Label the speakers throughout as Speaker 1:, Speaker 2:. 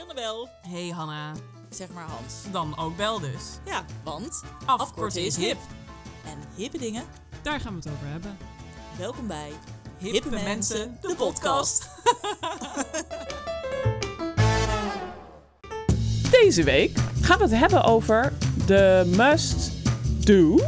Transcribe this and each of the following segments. Speaker 1: Annabel.
Speaker 2: Hey Hanna,
Speaker 1: Zeg maar Hans.
Speaker 2: dan ook bel dus.
Speaker 1: Ja, want
Speaker 2: Afkorten
Speaker 1: afkorten
Speaker 2: is
Speaker 1: is hip. En hippe dingen,
Speaker 3: Daar gaan we het over hebben.
Speaker 1: welkom bij
Speaker 2: Hippe Mensen, de
Speaker 4: Deze week gaan we het hebben over de must do.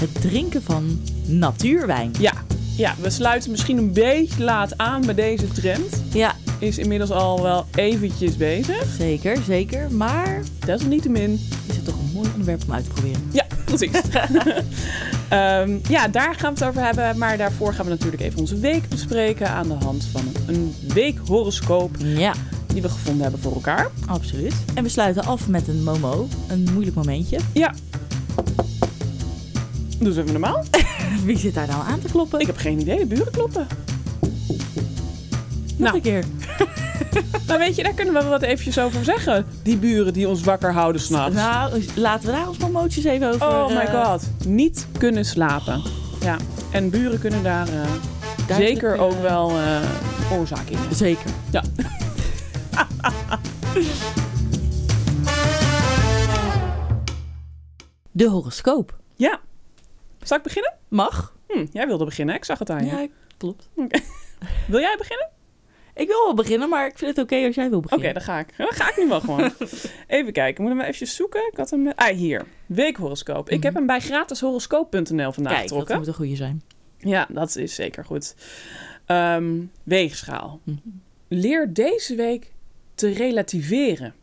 Speaker 1: Het drinken van natuurwijn.
Speaker 4: Ja, ja, we sluiten misschien een beetje laat aan bij deze trend.
Speaker 1: Ja,
Speaker 4: Is inmiddels al wel eventjes bezig.
Speaker 1: zeker, zeker. Maar
Speaker 4: Desalniettemin.
Speaker 1: is het toch een mooi onderwerp om uit te proberen.
Speaker 4: Ja, precies. Ehm, ja, daar gaan we het over hebben. Maar daarvoor gaan we natuurlijk even onze week bespreken aan de hand van een weekhoroscoop
Speaker 1: Ja,
Speaker 4: die we gevonden hebben voor elkaar.
Speaker 1: absoluut. En we sluiten af met een momo. Een moeilijk momentje.
Speaker 4: Ja. Dus even normaal.
Speaker 1: Wie zit daar nou aan te kloppen?
Speaker 4: Ik heb geen idee. De buren kloppen.
Speaker 1: Nog
Speaker 4: nou.
Speaker 1: een keer.
Speaker 4: Maar weet je, daar kunnen we wel wat eventjes over zeggen. Die buren die ons wakker houden s'nachts.
Speaker 1: Nou, laten we daar ons momootjes even over...
Speaker 4: oh my
Speaker 1: eh,
Speaker 4: god. Niet kunnen slapen. Ja, en buren kunnen daar eh,
Speaker 1: duidelijk,
Speaker 4: zeker
Speaker 1: eh,
Speaker 4: ook wel eh, oorzaak in hebben.
Speaker 1: Zeker.
Speaker 4: Ja.
Speaker 1: De horoscoop.
Speaker 4: Ja. Zal ik beginnen?
Speaker 1: Mag?
Speaker 4: Hm, jij wilde beginnen, hè? ik zag het aan je.
Speaker 1: Ah, Ja, klopt.
Speaker 4: Wil jij beginnen?
Speaker 1: Ik wil wel beginnen, maar ik vind het oké als jij wil
Speaker 4: Oké,
Speaker 1: beginnen.
Speaker 4: dan ga ik. Dan ga ik nu wel gewoon. Even kijken, moet hem even zoeken. Ik had hem... eh, Ah, hier. Weekhoroscoop. Ik heb hem bij gratishoroscoop.nl vandaag
Speaker 1: Mhm. Kijk, dat
Speaker 4: getrokken.
Speaker 1: moet een goede zijn.
Speaker 4: Ja, dat is zeker goed. Ehm, weegschaal.
Speaker 1: Mhm.
Speaker 4: Leer deze week te relativeren.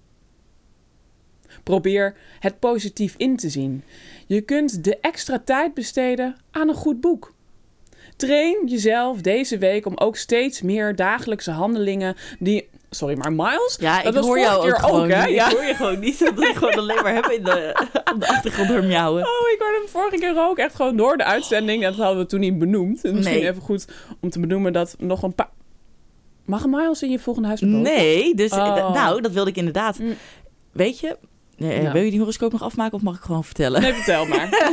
Speaker 4: Probeer het positief in te zien. Je kunt de extra tijd besteden aan een goed boek. Train jezelf deze week om ook steeds meer dagelijkse handelingen die. Sorry, maar Miles?
Speaker 1: Ja,
Speaker 4: dat
Speaker 1: ik hoor
Speaker 4: was vorige
Speaker 1: jou ook
Speaker 4: keer
Speaker 1: gewoon.
Speaker 4: hè?
Speaker 1: niet.
Speaker 4: Ja.
Speaker 1: Ik hoor je gewoon niet. Dat ik gewoon alleen maar heb in de, aan de achtergrond door miauwen.
Speaker 4: Oh, ik hoorde hem vorige keer ook echt gewoon door de uitzending. Dat hadden we toen niet benoemd. En Misschien
Speaker 1: Nee.
Speaker 4: even goed om te benoemen dat nog een paar... Mag een Miles in je volgende huis verkopen?
Speaker 1: Nee, dus
Speaker 4: Oh.
Speaker 1: d- nou, dat wilde ik inderdaad.
Speaker 4: Mm.
Speaker 1: Weet je, eh,
Speaker 4: Ja.
Speaker 1: wil je die horoscoop nog afmaken of mag ik gewoon vertellen?
Speaker 4: Nee, vertel maar.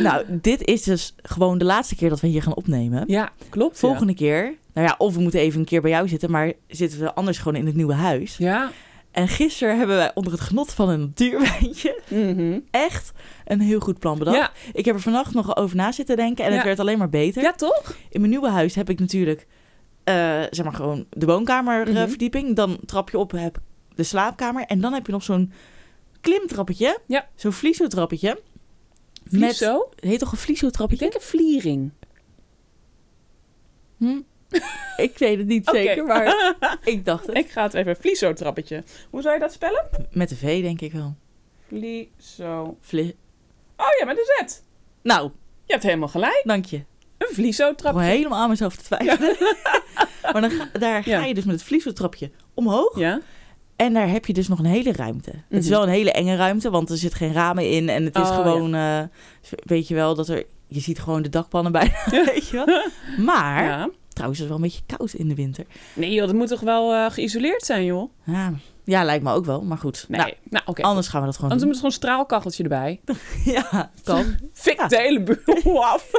Speaker 1: Nou, dit is dus gewoon de laatste keer dat we hier gaan opnemen.
Speaker 4: Ja, klopt. ja.
Speaker 1: Volgende keer, nou ja, of we moeten even een keer bij jou zitten, maar zitten we anders gewoon in het nieuwe huis.
Speaker 4: Ja.
Speaker 1: En gisteren hebben wij onder het genot van een natuurwijntje
Speaker 4: Mhm.
Speaker 1: echt een heel goed plan bedacht.
Speaker 4: Ja.
Speaker 1: Ik heb er vannacht nog over na zitten denken en het
Speaker 4: Ja.
Speaker 1: werd alleen maar beter.
Speaker 4: ja, toch?
Speaker 1: In mijn nieuwe huis heb ik natuurlijk, eh, zeg maar gewoon de
Speaker 4: Mhm.
Speaker 1: woonkamerverdieping. Dan trap je op, heb ik de slaapkamer. En dan heb je nog zo'n klimtrappetje.
Speaker 4: Ja.
Speaker 1: Zo'n vliezotrappetje.
Speaker 4: Met zo?
Speaker 1: Heet toch een
Speaker 4: Ik
Speaker 1: vliezotrappetje?
Speaker 4: denk een vliering.
Speaker 1: Hm? ik weet het niet
Speaker 4: Oké.
Speaker 1: zeker, maar ik dacht het.
Speaker 4: Ik ga het even vlieso-trappetje. Hoe zou je dat spellen?
Speaker 1: Met de V denk ik wel.
Speaker 4: Vlieso.
Speaker 1: Vlie-
Speaker 4: Oh ja, met een Z.
Speaker 1: nou,
Speaker 4: Je hebt helemaal gelijk.
Speaker 1: dank je.
Speaker 4: Een
Speaker 1: Gewoon
Speaker 4: vlieso-trapje.
Speaker 1: helemaal aan mezelf te twijfelen. maar dan ga, daar ga
Speaker 4: Ja.
Speaker 1: je dus met het vliezotrappetje omhoog.
Speaker 4: Ja.
Speaker 1: En daar heb je dus nog een hele ruimte. Het is
Speaker 4: Mhm.
Speaker 1: wel een hele enge ruimte, want er zit geen ramen in. En het is
Speaker 4: Oh,
Speaker 1: gewoon, eh, weet je wel, dat er... Je ziet gewoon de dakpannen bijna, weet je wel. Maar,
Speaker 4: ja.
Speaker 1: trouwens, het is wel een beetje koud in de winter.
Speaker 4: Nee joh, dat moet toch wel eh, geïsoleerd zijn joh?
Speaker 1: Ja, ja, lijkt me ook wel, maar goed.
Speaker 4: Nee.
Speaker 1: Nou,
Speaker 4: Nou, oké.
Speaker 1: anders gaan we dat gewoon
Speaker 4: Anders moet
Speaker 1: doen.
Speaker 4: er gewoon een straalkacheltje erbij.
Speaker 1: Ja, kan.
Speaker 4: Fik
Speaker 1: Ja.
Speaker 4: de hele bureau af.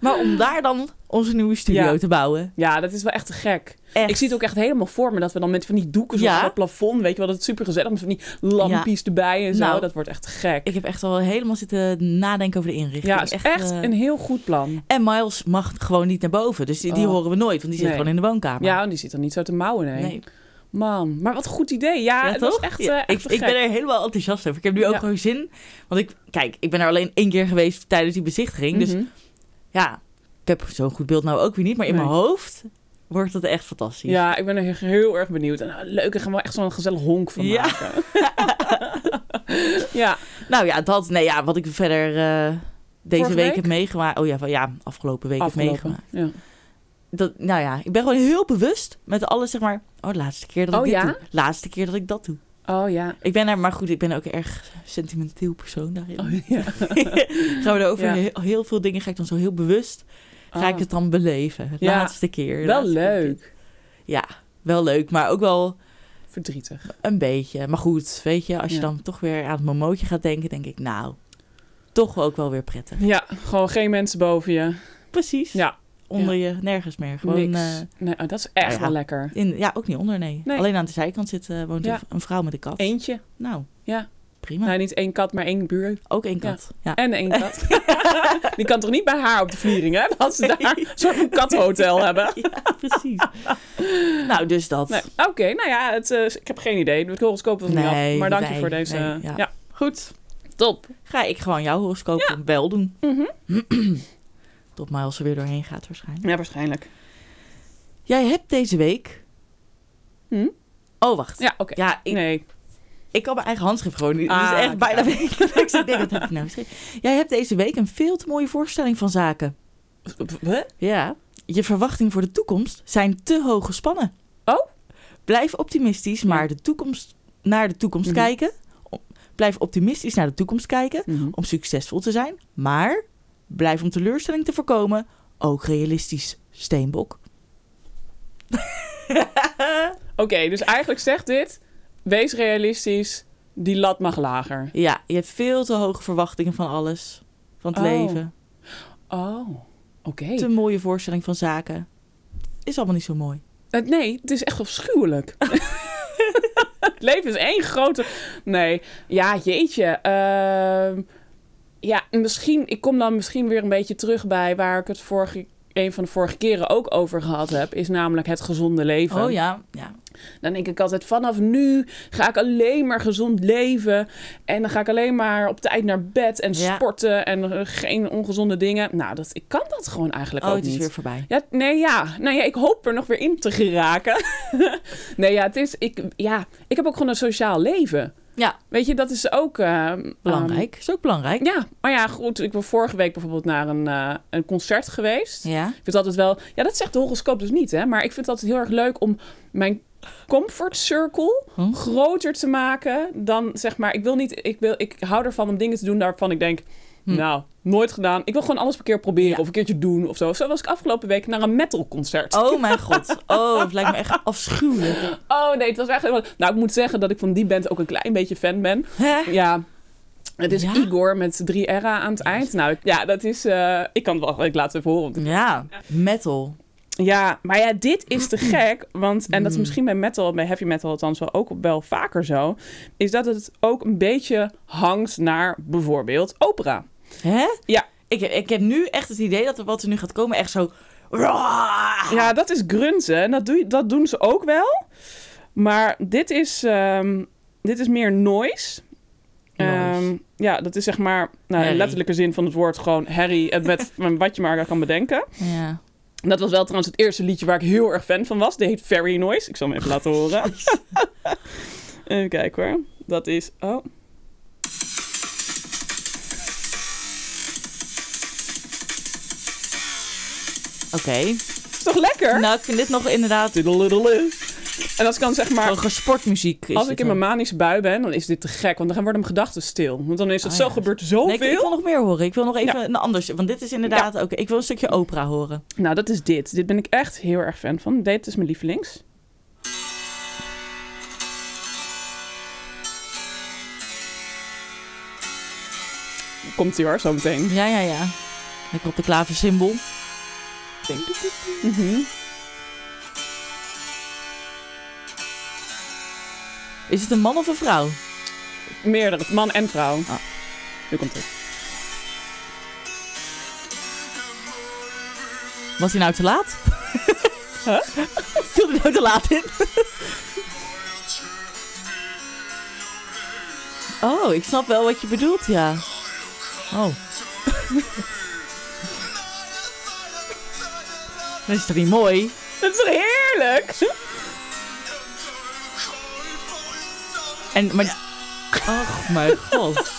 Speaker 1: Maar om daar dan onze nieuwe studio
Speaker 4: Ja.
Speaker 1: te bouwen.
Speaker 4: Ja, dat is wel echt te gek.
Speaker 1: Echt.
Speaker 4: Ik zie het ook echt helemaal voor me dat we dan met van die doeken zo
Speaker 1: Ja.
Speaker 4: op het plafond, weet je wel, dat is super gezellig met van die lampjes erbij en zo.
Speaker 1: Nou.
Speaker 4: dat wordt echt te gek.
Speaker 1: Ik heb echt al helemaal zitten nadenken over de inrichting.
Speaker 4: ja, is echt,
Speaker 1: eh,
Speaker 4: een heel goed plan.
Speaker 1: En Miles mag gewoon niet naar boven, dus die, die
Speaker 4: Oh.
Speaker 1: horen we nooit, want die zit
Speaker 4: Nee.
Speaker 1: gewoon in de woonkamer.
Speaker 4: Ja, en die zit er niet zo te mouwen, nee.
Speaker 1: nee.
Speaker 4: Man, maar wat een goed idee. Ja,
Speaker 1: Ja,
Speaker 4: dat
Speaker 1: toch?
Speaker 4: is echt,
Speaker 1: Ja,
Speaker 4: eh, echt
Speaker 1: ik,
Speaker 4: te
Speaker 1: ik
Speaker 4: gek.
Speaker 1: ben er helemaal enthousiast over. Ik heb nu ook
Speaker 4: Ja.
Speaker 1: gewoon zin. Want ik, kijk, ik ben er alleen één keer geweest tijdens die bezichtiging. Dus
Speaker 4: Mhm.
Speaker 1: ja, ik heb zo'n goed beeld nou ook weer niet. Maar in
Speaker 4: Nee.
Speaker 1: mijn hoofd wordt dat echt fantastisch.
Speaker 4: Ja, ik ben er heel, heel erg benieuwd. En nou, leuk, ik gaan we echt zo'n gezellig honk van
Speaker 1: Ja.
Speaker 4: maken. ja,
Speaker 1: Nou ja, dat, nee, ja, wat ik verder eh, deze
Speaker 4: Vorige
Speaker 1: week,
Speaker 4: week?
Speaker 1: heb meegemaakt. Oh ja, van, ja afgelopen week heb
Speaker 4: afgelopen.
Speaker 1: meegemaakt.
Speaker 4: Ja.
Speaker 1: Dat, nou ja, ik ben gewoon heel bewust met alles, zeg maar. Oh, de laatste keer dat
Speaker 4: Oh,
Speaker 1: ik dit
Speaker 4: ja?
Speaker 1: doe. Laatste keer dat ik dat doe.
Speaker 4: Oh ja.
Speaker 1: Ik ben er, maar goed, ik ben ook een erg sentimenteel persoon daarin.
Speaker 4: Oh, ja.
Speaker 1: Gaan we erover
Speaker 4: Ja.
Speaker 1: heel, heel veel dingen ga ik dan zo heel bewust ga
Speaker 4: Ah,
Speaker 1: ik het dan beleven.
Speaker 4: Ja.
Speaker 1: Laatste keer.
Speaker 4: Wel
Speaker 1: laatste keer.
Speaker 4: leuk.
Speaker 1: Wel leuk, maar ook wel
Speaker 4: Verdrietig.
Speaker 1: een beetje. Maar goed, weet je, als je
Speaker 4: Ja.
Speaker 1: dan toch weer aan het momootje gaat denken, denk ik, nou, toch ook wel weer prettig.
Speaker 4: Ja, gewoon geen mensen boven je.
Speaker 1: Precies.
Speaker 4: Ja.
Speaker 1: onder je, nergens meer. Gewoon,
Speaker 4: Niks.
Speaker 1: eh,
Speaker 4: nee, oh, dat is echt
Speaker 1: ja.
Speaker 4: wel lekker.
Speaker 1: in, ja, ook niet onder, nee.
Speaker 4: Nee.
Speaker 1: Alleen aan de zijkant zit, eh, woont
Speaker 4: Ja.
Speaker 1: een vrouw met een kat.
Speaker 4: Eentje.
Speaker 1: Nou,
Speaker 4: Ja.
Speaker 1: prima.
Speaker 4: Nee, niet één kat, maar één buur.
Speaker 1: Ook één
Speaker 4: Ja.
Speaker 1: kat. Ja.
Speaker 4: En één kat. Die kan toch niet bij haar op de vliering, hè? Dat ze daar een soort van kathotel hebben.
Speaker 1: Ja, precies. nou, dus dat.
Speaker 4: Nee. Oké, nou ja, het, eh, ik heb geen idee. De horoscoop was niet
Speaker 1: Nee,
Speaker 4: af. Maar dank je
Speaker 1: wij-
Speaker 4: voor deze.
Speaker 1: nee,
Speaker 4: ja.
Speaker 1: ja.
Speaker 4: goed. Top.
Speaker 1: Ga ik gewoon jouw horoscoop wel doen.
Speaker 4: Mhm.
Speaker 1: Tot Miles er weer doorheen gaat waarschijnlijk.
Speaker 4: Ja, waarschijnlijk.
Speaker 1: Jij hebt deze week...
Speaker 4: Hm?
Speaker 1: Oh, wacht.
Speaker 4: Ja, oké.
Speaker 1: Ja, ik,
Speaker 4: Nee.
Speaker 1: ik kan mijn eigen handschrift gewoon niet. Het
Speaker 4: Ah,
Speaker 1: is echt bijna wekelijks. ik denk, wat heb ik nou geschreven? Jij hebt deze week een veel te mooie voorstelling van zaken.
Speaker 4: Huh?
Speaker 1: Ja. Je verwachtingen voor de toekomst zijn te hoog gespannen.
Speaker 4: Oh?
Speaker 1: Blijf optimistisch maar de toekomst, naar de toekomst
Speaker 4: Mhm.
Speaker 1: kijken. Om- Blijf optimistisch naar de toekomst kijken
Speaker 4: Mhm.
Speaker 1: om succesvol te zijn. Maar blijf om teleurstelling te voorkomen ook realistisch. Steenbok.
Speaker 4: Oké, dus eigenlijk zegt dit: wees realistisch, die lat mag lager.
Speaker 1: Ja, je hebt veel te hoge verwachtingen van alles. Van het
Speaker 4: Oh.
Speaker 1: leven.
Speaker 4: Oh, oké.
Speaker 1: Te mooie voorstelling van zaken. Is allemaal niet zo mooi.
Speaker 4: Eh, nee, het is echt afschuwelijk. het leven is één grote. Nee, ja, jeetje. Ehm, ja, misschien. Ik kom dan misschien weer een beetje terug bij waar ik het vorige, een van de vorige keren ook over gehad heb. Is namelijk het gezonde leven.
Speaker 1: Oh ja, ja.
Speaker 4: Dan denk ik altijd, vanaf nu ga ik alleen maar gezond leven. En dan ga ik alleen maar op tijd naar bed en
Speaker 1: Ja.
Speaker 4: sporten en eh, geen ongezonde dingen. Nou, dat, ik kan dat gewoon eigenlijk
Speaker 1: Oh,
Speaker 4: ook
Speaker 1: het is
Speaker 4: niet.
Speaker 1: weer voorbij.
Speaker 4: Ja, nee, ja. Nou ja, ik hoop er nog weer in te geraken. nee, ja, het is... Ik, ja, ik heb ook gewoon een sociaal leven.
Speaker 1: Ja,
Speaker 4: Weet je, dat is ook... ehm,
Speaker 1: belangrijk. is ook belangrijk.
Speaker 4: ehm, ja, maar ja, goed. Ik ben vorige week bijvoorbeeld naar een, eh, een concert geweest.
Speaker 1: Ja.
Speaker 4: Ik vind het altijd wel... Ja, dat zegt de horoscoop dus niet, hè. Maar ik vind het altijd heel erg leuk om mijn comfort circle
Speaker 1: Hm?
Speaker 4: groter te maken dan, zeg maar... Ik wil niet... Ik, wil, ik hou ervan om dingen te doen waarvan ik denk...
Speaker 1: Hm.
Speaker 4: Nou, nooit gedaan. Ik wil gewoon alles een keer proberen
Speaker 1: Ja.
Speaker 4: of een keertje doen of zo. Zo was ik afgelopen week naar een metalconcert.
Speaker 1: Oh mijn god. Oh, het lijkt me echt afschuwelijk.
Speaker 4: Oh nee, het was echt helemaal... Nou, ik moet zeggen dat ik van die band ook een klein beetje fan ben.
Speaker 1: Hè?
Speaker 4: Ja, het is
Speaker 1: Ja?
Speaker 4: Igor met drie R'en aan het eind. Nou, ik- ja, dat is... eh, ik kan het wel... Ik laat het even horen.
Speaker 1: Ja, metal.
Speaker 4: Ja, maar ja, dit is te gek. Want, en dat is misschien bij metal, bij heavy metal althans wel ook wel vaker zo... is dat het ook een beetje hangt naar bijvoorbeeld opera.
Speaker 1: Hè?
Speaker 4: Ja.
Speaker 1: Ik, ik heb nu echt het idee dat er wat er nu gaat komen echt zo... Ja.
Speaker 4: Ja, dat is grunzen. En dat, doe je, dat doen ze ook wel. Maar dit is, ehm, dit is meer noise.
Speaker 1: Noise.
Speaker 4: Ehm, ja, dat is zeg maar, nou, in
Speaker 1: Herrie.
Speaker 4: letterlijke zin van het woord, gewoon herrie. Het met met wat je maar kan bedenken.
Speaker 1: Ja.
Speaker 4: En Dat was wel trouwens het eerste liedje waar ik heel erg fan van was. Die heet Fairy Noise. Ik zal hem even laten horen. even kijken hoor. Dat is. Oh.
Speaker 1: Oké.
Speaker 4: Is toch lekker?
Speaker 1: Nou, ik vind dit nog inderdaad
Speaker 4: Tudeludelu. En als ik dan zeg maar.
Speaker 1: gewoon gesportmuziek. is
Speaker 4: Als
Speaker 1: dit
Speaker 4: ik in mijn
Speaker 1: dan.
Speaker 4: manische bui ben, dan is dit te gek. Want dan worden mijn gedachten stil. Want dan is het
Speaker 1: Oh
Speaker 4: zo
Speaker 1: ja.
Speaker 4: gebeurd
Speaker 1: Nee,
Speaker 4: zoveel.
Speaker 1: ik, ik wil nog meer horen. Ik wil nog even een anders. Want dit is inderdaad ook... Ik wil een stukje opera horen.
Speaker 4: Nou, dat is dit. Dit ben ik echt heel erg fan van. Dit is mijn lievelings. Komt ie hoor, zometeen.
Speaker 1: Ja, ja, ja. Lekker op de klaversymbool.
Speaker 4: Mhm.
Speaker 1: Is het een man of een vrouw?
Speaker 4: Meerdere, man en vrouw.
Speaker 1: Ah.
Speaker 4: Nu komt het.
Speaker 1: Was hij nou te laat? Huh? Viel hij nou te laat in? Oh, ik snap wel wat je bedoelt, ja. Oh. Dat is toch niet mooi?
Speaker 4: Dat is toch heerlijk?
Speaker 1: En, maar... Ach, mijn god.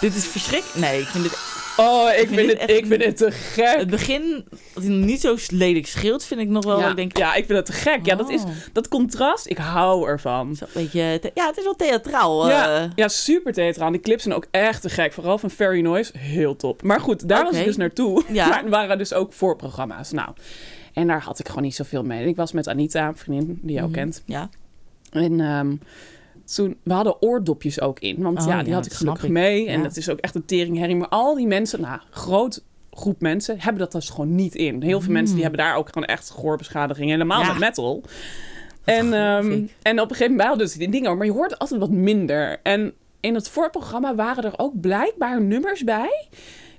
Speaker 1: Dit is verschrik... Nee, ik vind dit...
Speaker 4: Oh, ik,
Speaker 1: vind
Speaker 4: vind,
Speaker 1: dit
Speaker 4: het,
Speaker 1: echt
Speaker 4: ik vind
Speaker 1: een-
Speaker 4: het te gek.
Speaker 1: Het begin, dat hij niet zo lelijk scheelt, vind ik nog wel...
Speaker 4: ja,
Speaker 1: Ik denk,
Speaker 4: ja, ik vind het te gek. Ja, dat, is,
Speaker 1: Oh.
Speaker 4: dat contrast, ik hou ervan.
Speaker 1: zo een beetje... the- Ja, het is wel theatraal. eh.
Speaker 4: Ja, ja, super theatraal. Die clips zijn ook echt te gek. Vooral van Fairy Noise, heel top. Maar goed, daar was
Speaker 1: Oké.
Speaker 4: ik dus naartoe.
Speaker 1: Ja.
Speaker 4: Maar er waren dus ook voorprogramma's. Nou, en daar had ik gewoon niet zoveel mee. En Ik was met Anita, een vriendin die je ook
Speaker 1: Mhm,
Speaker 4: kent.
Speaker 1: Ja.
Speaker 4: En ehm, toen, we hadden oordopjes ook in. Want
Speaker 1: Oh,
Speaker 4: ja, die
Speaker 1: ja,
Speaker 4: had ik
Speaker 1: dat snap
Speaker 4: gelukkig
Speaker 1: ik.
Speaker 4: mee. En
Speaker 1: Ja.
Speaker 4: dat is ook echt een teringherrie. Maar al die mensen, nou, groot groep mensen hebben dat dus gewoon niet in. Heel veel mensen die hebben daar ook gewoon echt gehoorbeschadiging. Helemaal
Speaker 1: Hmm. Ja.
Speaker 4: met metal. En, ehm,
Speaker 1: ik.
Speaker 4: en op een gegeven moment wij hadden dus die dingen ook. Maar je hoort altijd wat minder. En in het voorprogramma waren er ook blijkbaar nummers bij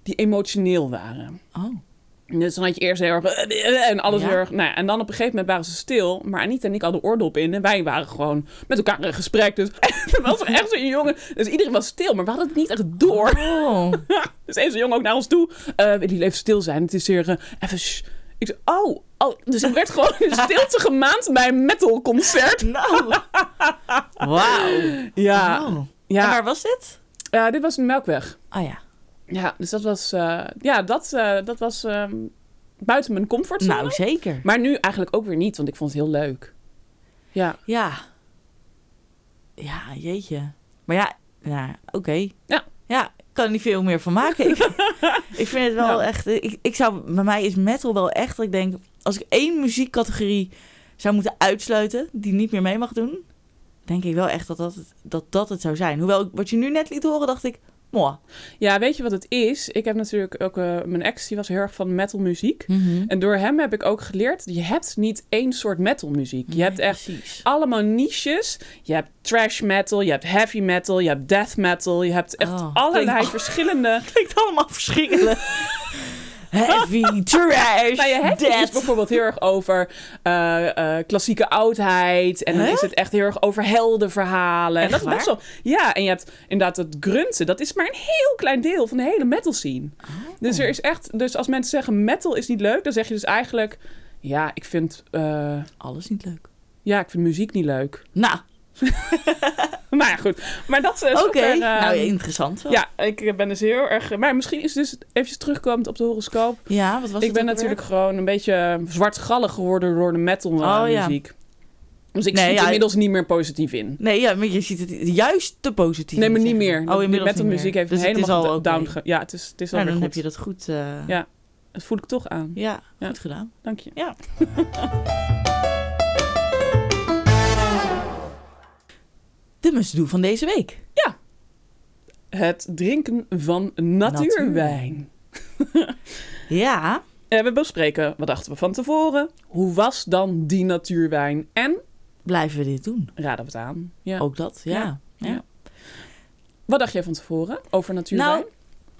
Speaker 4: die emotioneel waren.
Speaker 1: Oh.
Speaker 4: Dus dan had je eerst heel erg... En alles
Speaker 1: Ja.
Speaker 4: heel erg... Nou ja, en dan op een gegeven moment waren ze stil. Maar Anita en ik hadden oordop in. En wij waren gewoon met elkaar in gesprek. Dus er was echt zo'n jongen... Dus iedereen was stil. Maar we hadden het niet echt door.
Speaker 1: Oh.
Speaker 4: Dus even zo'n jongen ook naar ons toe. eh wil jullie even stil zijn? Het is hier eh, even... shh." Ik zei, oh, oh. Dus ik werd gewoon in stilte gemaand bij een metalconcert.
Speaker 1: Nou. Wauw.
Speaker 4: Ja,
Speaker 1: Oh. En
Speaker 4: ja.
Speaker 1: waar was dit?
Speaker 4: Eh, dit was een Melkweg.
Speaker 1: Oh ja.
Speaker 4: Ja, dus dat was... eh, ja, dat, eh, dat was ehm, buiten mijn comfortzone.
Speaker 1: Nou, zeker.
Speaker 4: Maar nu eigenlijk ook weer niet, want ik vond het heel leuk. Ja,
Speaker 1: Ja. Ja, jeetje. Maar ja, ja oké.
Speaker 4: Ja.
Speaker 1: Ja, ik kan er niet veel meer van maken. ik, ik vind het wel echt... Ik, ik zou, bij mij is metal wel echt... dat Ik denk, als ik één muziekcategorie zou moeten uitsluiten... die niet meer mee mag doen... denk ik wel echt dat dat het, dat dat het zou zijn. Hoewel, ik- wat je nu net liet horen, dacht ik... Mooi.
Speaker 4: ja weet je wat het is? Ik heb natuurlijk ook... eh, mijn ex, die was heel erg van metalmuziek. En door hem heb ik ook geleerd... je hebt niet één soort metalmuziek. Je hebt echt
Speaker 1: Precies.
Speaker 4: allemaal niches. Je hebt trash metal, je hebt heavy metal, je hebt death metal. Je hebt echt
Speaker 1: Oh.
Speaker 4: allerlei
Speaker 1: Klinkt-
Speaker 4: verschillende...
Speaker 1: Klinkt allemaal verschrikkelijk. Heavy, trash,
Speaker 4: Nou, je hebt het dus
Speaker 1: death.
Speaker 4: bijvoorbeeld heel erg over eh, eh, klassieke oudheid. En dan
Speaker 1: Huh?
Speaker 4: is het echt heel erg over heldenverhalen. en
Speaker 1: Echt
Speaker 4: dat is best wel. Ja, en je hebt inderdaad het grunten. Dat is maar een heel klein deel van de hele metal scene.
Speaker 1: Oh.
Speaker 4: Dus er is echt. Dus als mensen zeggen metal is niet leuk, dan zeg je dus eigenlijk. Ja, ik vind, eh,
Speaker 1: Alles niet leuk.
Speaker 4: ja, ik vind muziek niet leuk.
Speaker 1: Nou,
Speaker 4: Maar ja, goed. Maar dat is
Speaker 1: oké.
Speaker 4: zover, eh,
Speaker 1: nou, interessant wel.
Speaker 4: ja, ik ben dus heel erg. Maar misschien is het dus even terugkomend op de horoscoop.
Speaker 1: Ja, wat was
Speaker 4: ik ben natuurlijk gewoon een beetje eh, zwartgallig geworden door de metal eh,
Speaker 1: Oh, ja.
Speaker 4: muziek. Dus ik
Speaker 1: Nee,
Speaker 4: schiet
Speaker 1: ja,
Speaker 4: inmiddels niet meer positief in.
Speaker 1: Nee, ja, maar je ziet het juist te positief.
Speaker 4: Nee, maar niet
Speaker 1: zeg
Speaker 4: meer.
Speaker 1: Oh,
Speaker 4: de
Speaker 1: inmiddels niet
Speaker 4: metalmuziek
Speaker 1: meer.
Speaker 4: heeft
Speaker 1: dus
Speaker 4: me helemaal
Speaker 1: het is
Speaker 4: da-
Speaker 1: al oké.
Speaker 4: down ge- Ja, het is, het is
Speaker 1: Nou,
Speaker 4: alweer
Speaker 1: dan heb
Speaker 4: goed.
Speaker 1: je dat goed, eh,
Speaker 4: Ja. Dat voel ik toch aan.
Speaker 1: ja,
Speaker 4: Ja.
Speaker 1: goed gedaan.
Speaker 4: Dank je.
Speaker 1: Ja. De must-do van deze week.
Speaker 4: Het drinken van natuurwijn.
Speaker 1: Ja.
Speaker 4: Eh, we bespreken, wat dachten we van tevoren? Hoe was dan die natuurwijn? En
Speaker 1: Blijven we dit doen?
Speaker 4: raden we het aan? Ja.
Speaker 1: Ook dat, ja.
Speaker 4: Ja. Wat dacht jij van tevoren over natuurwijn?
Speaker 1: Nou,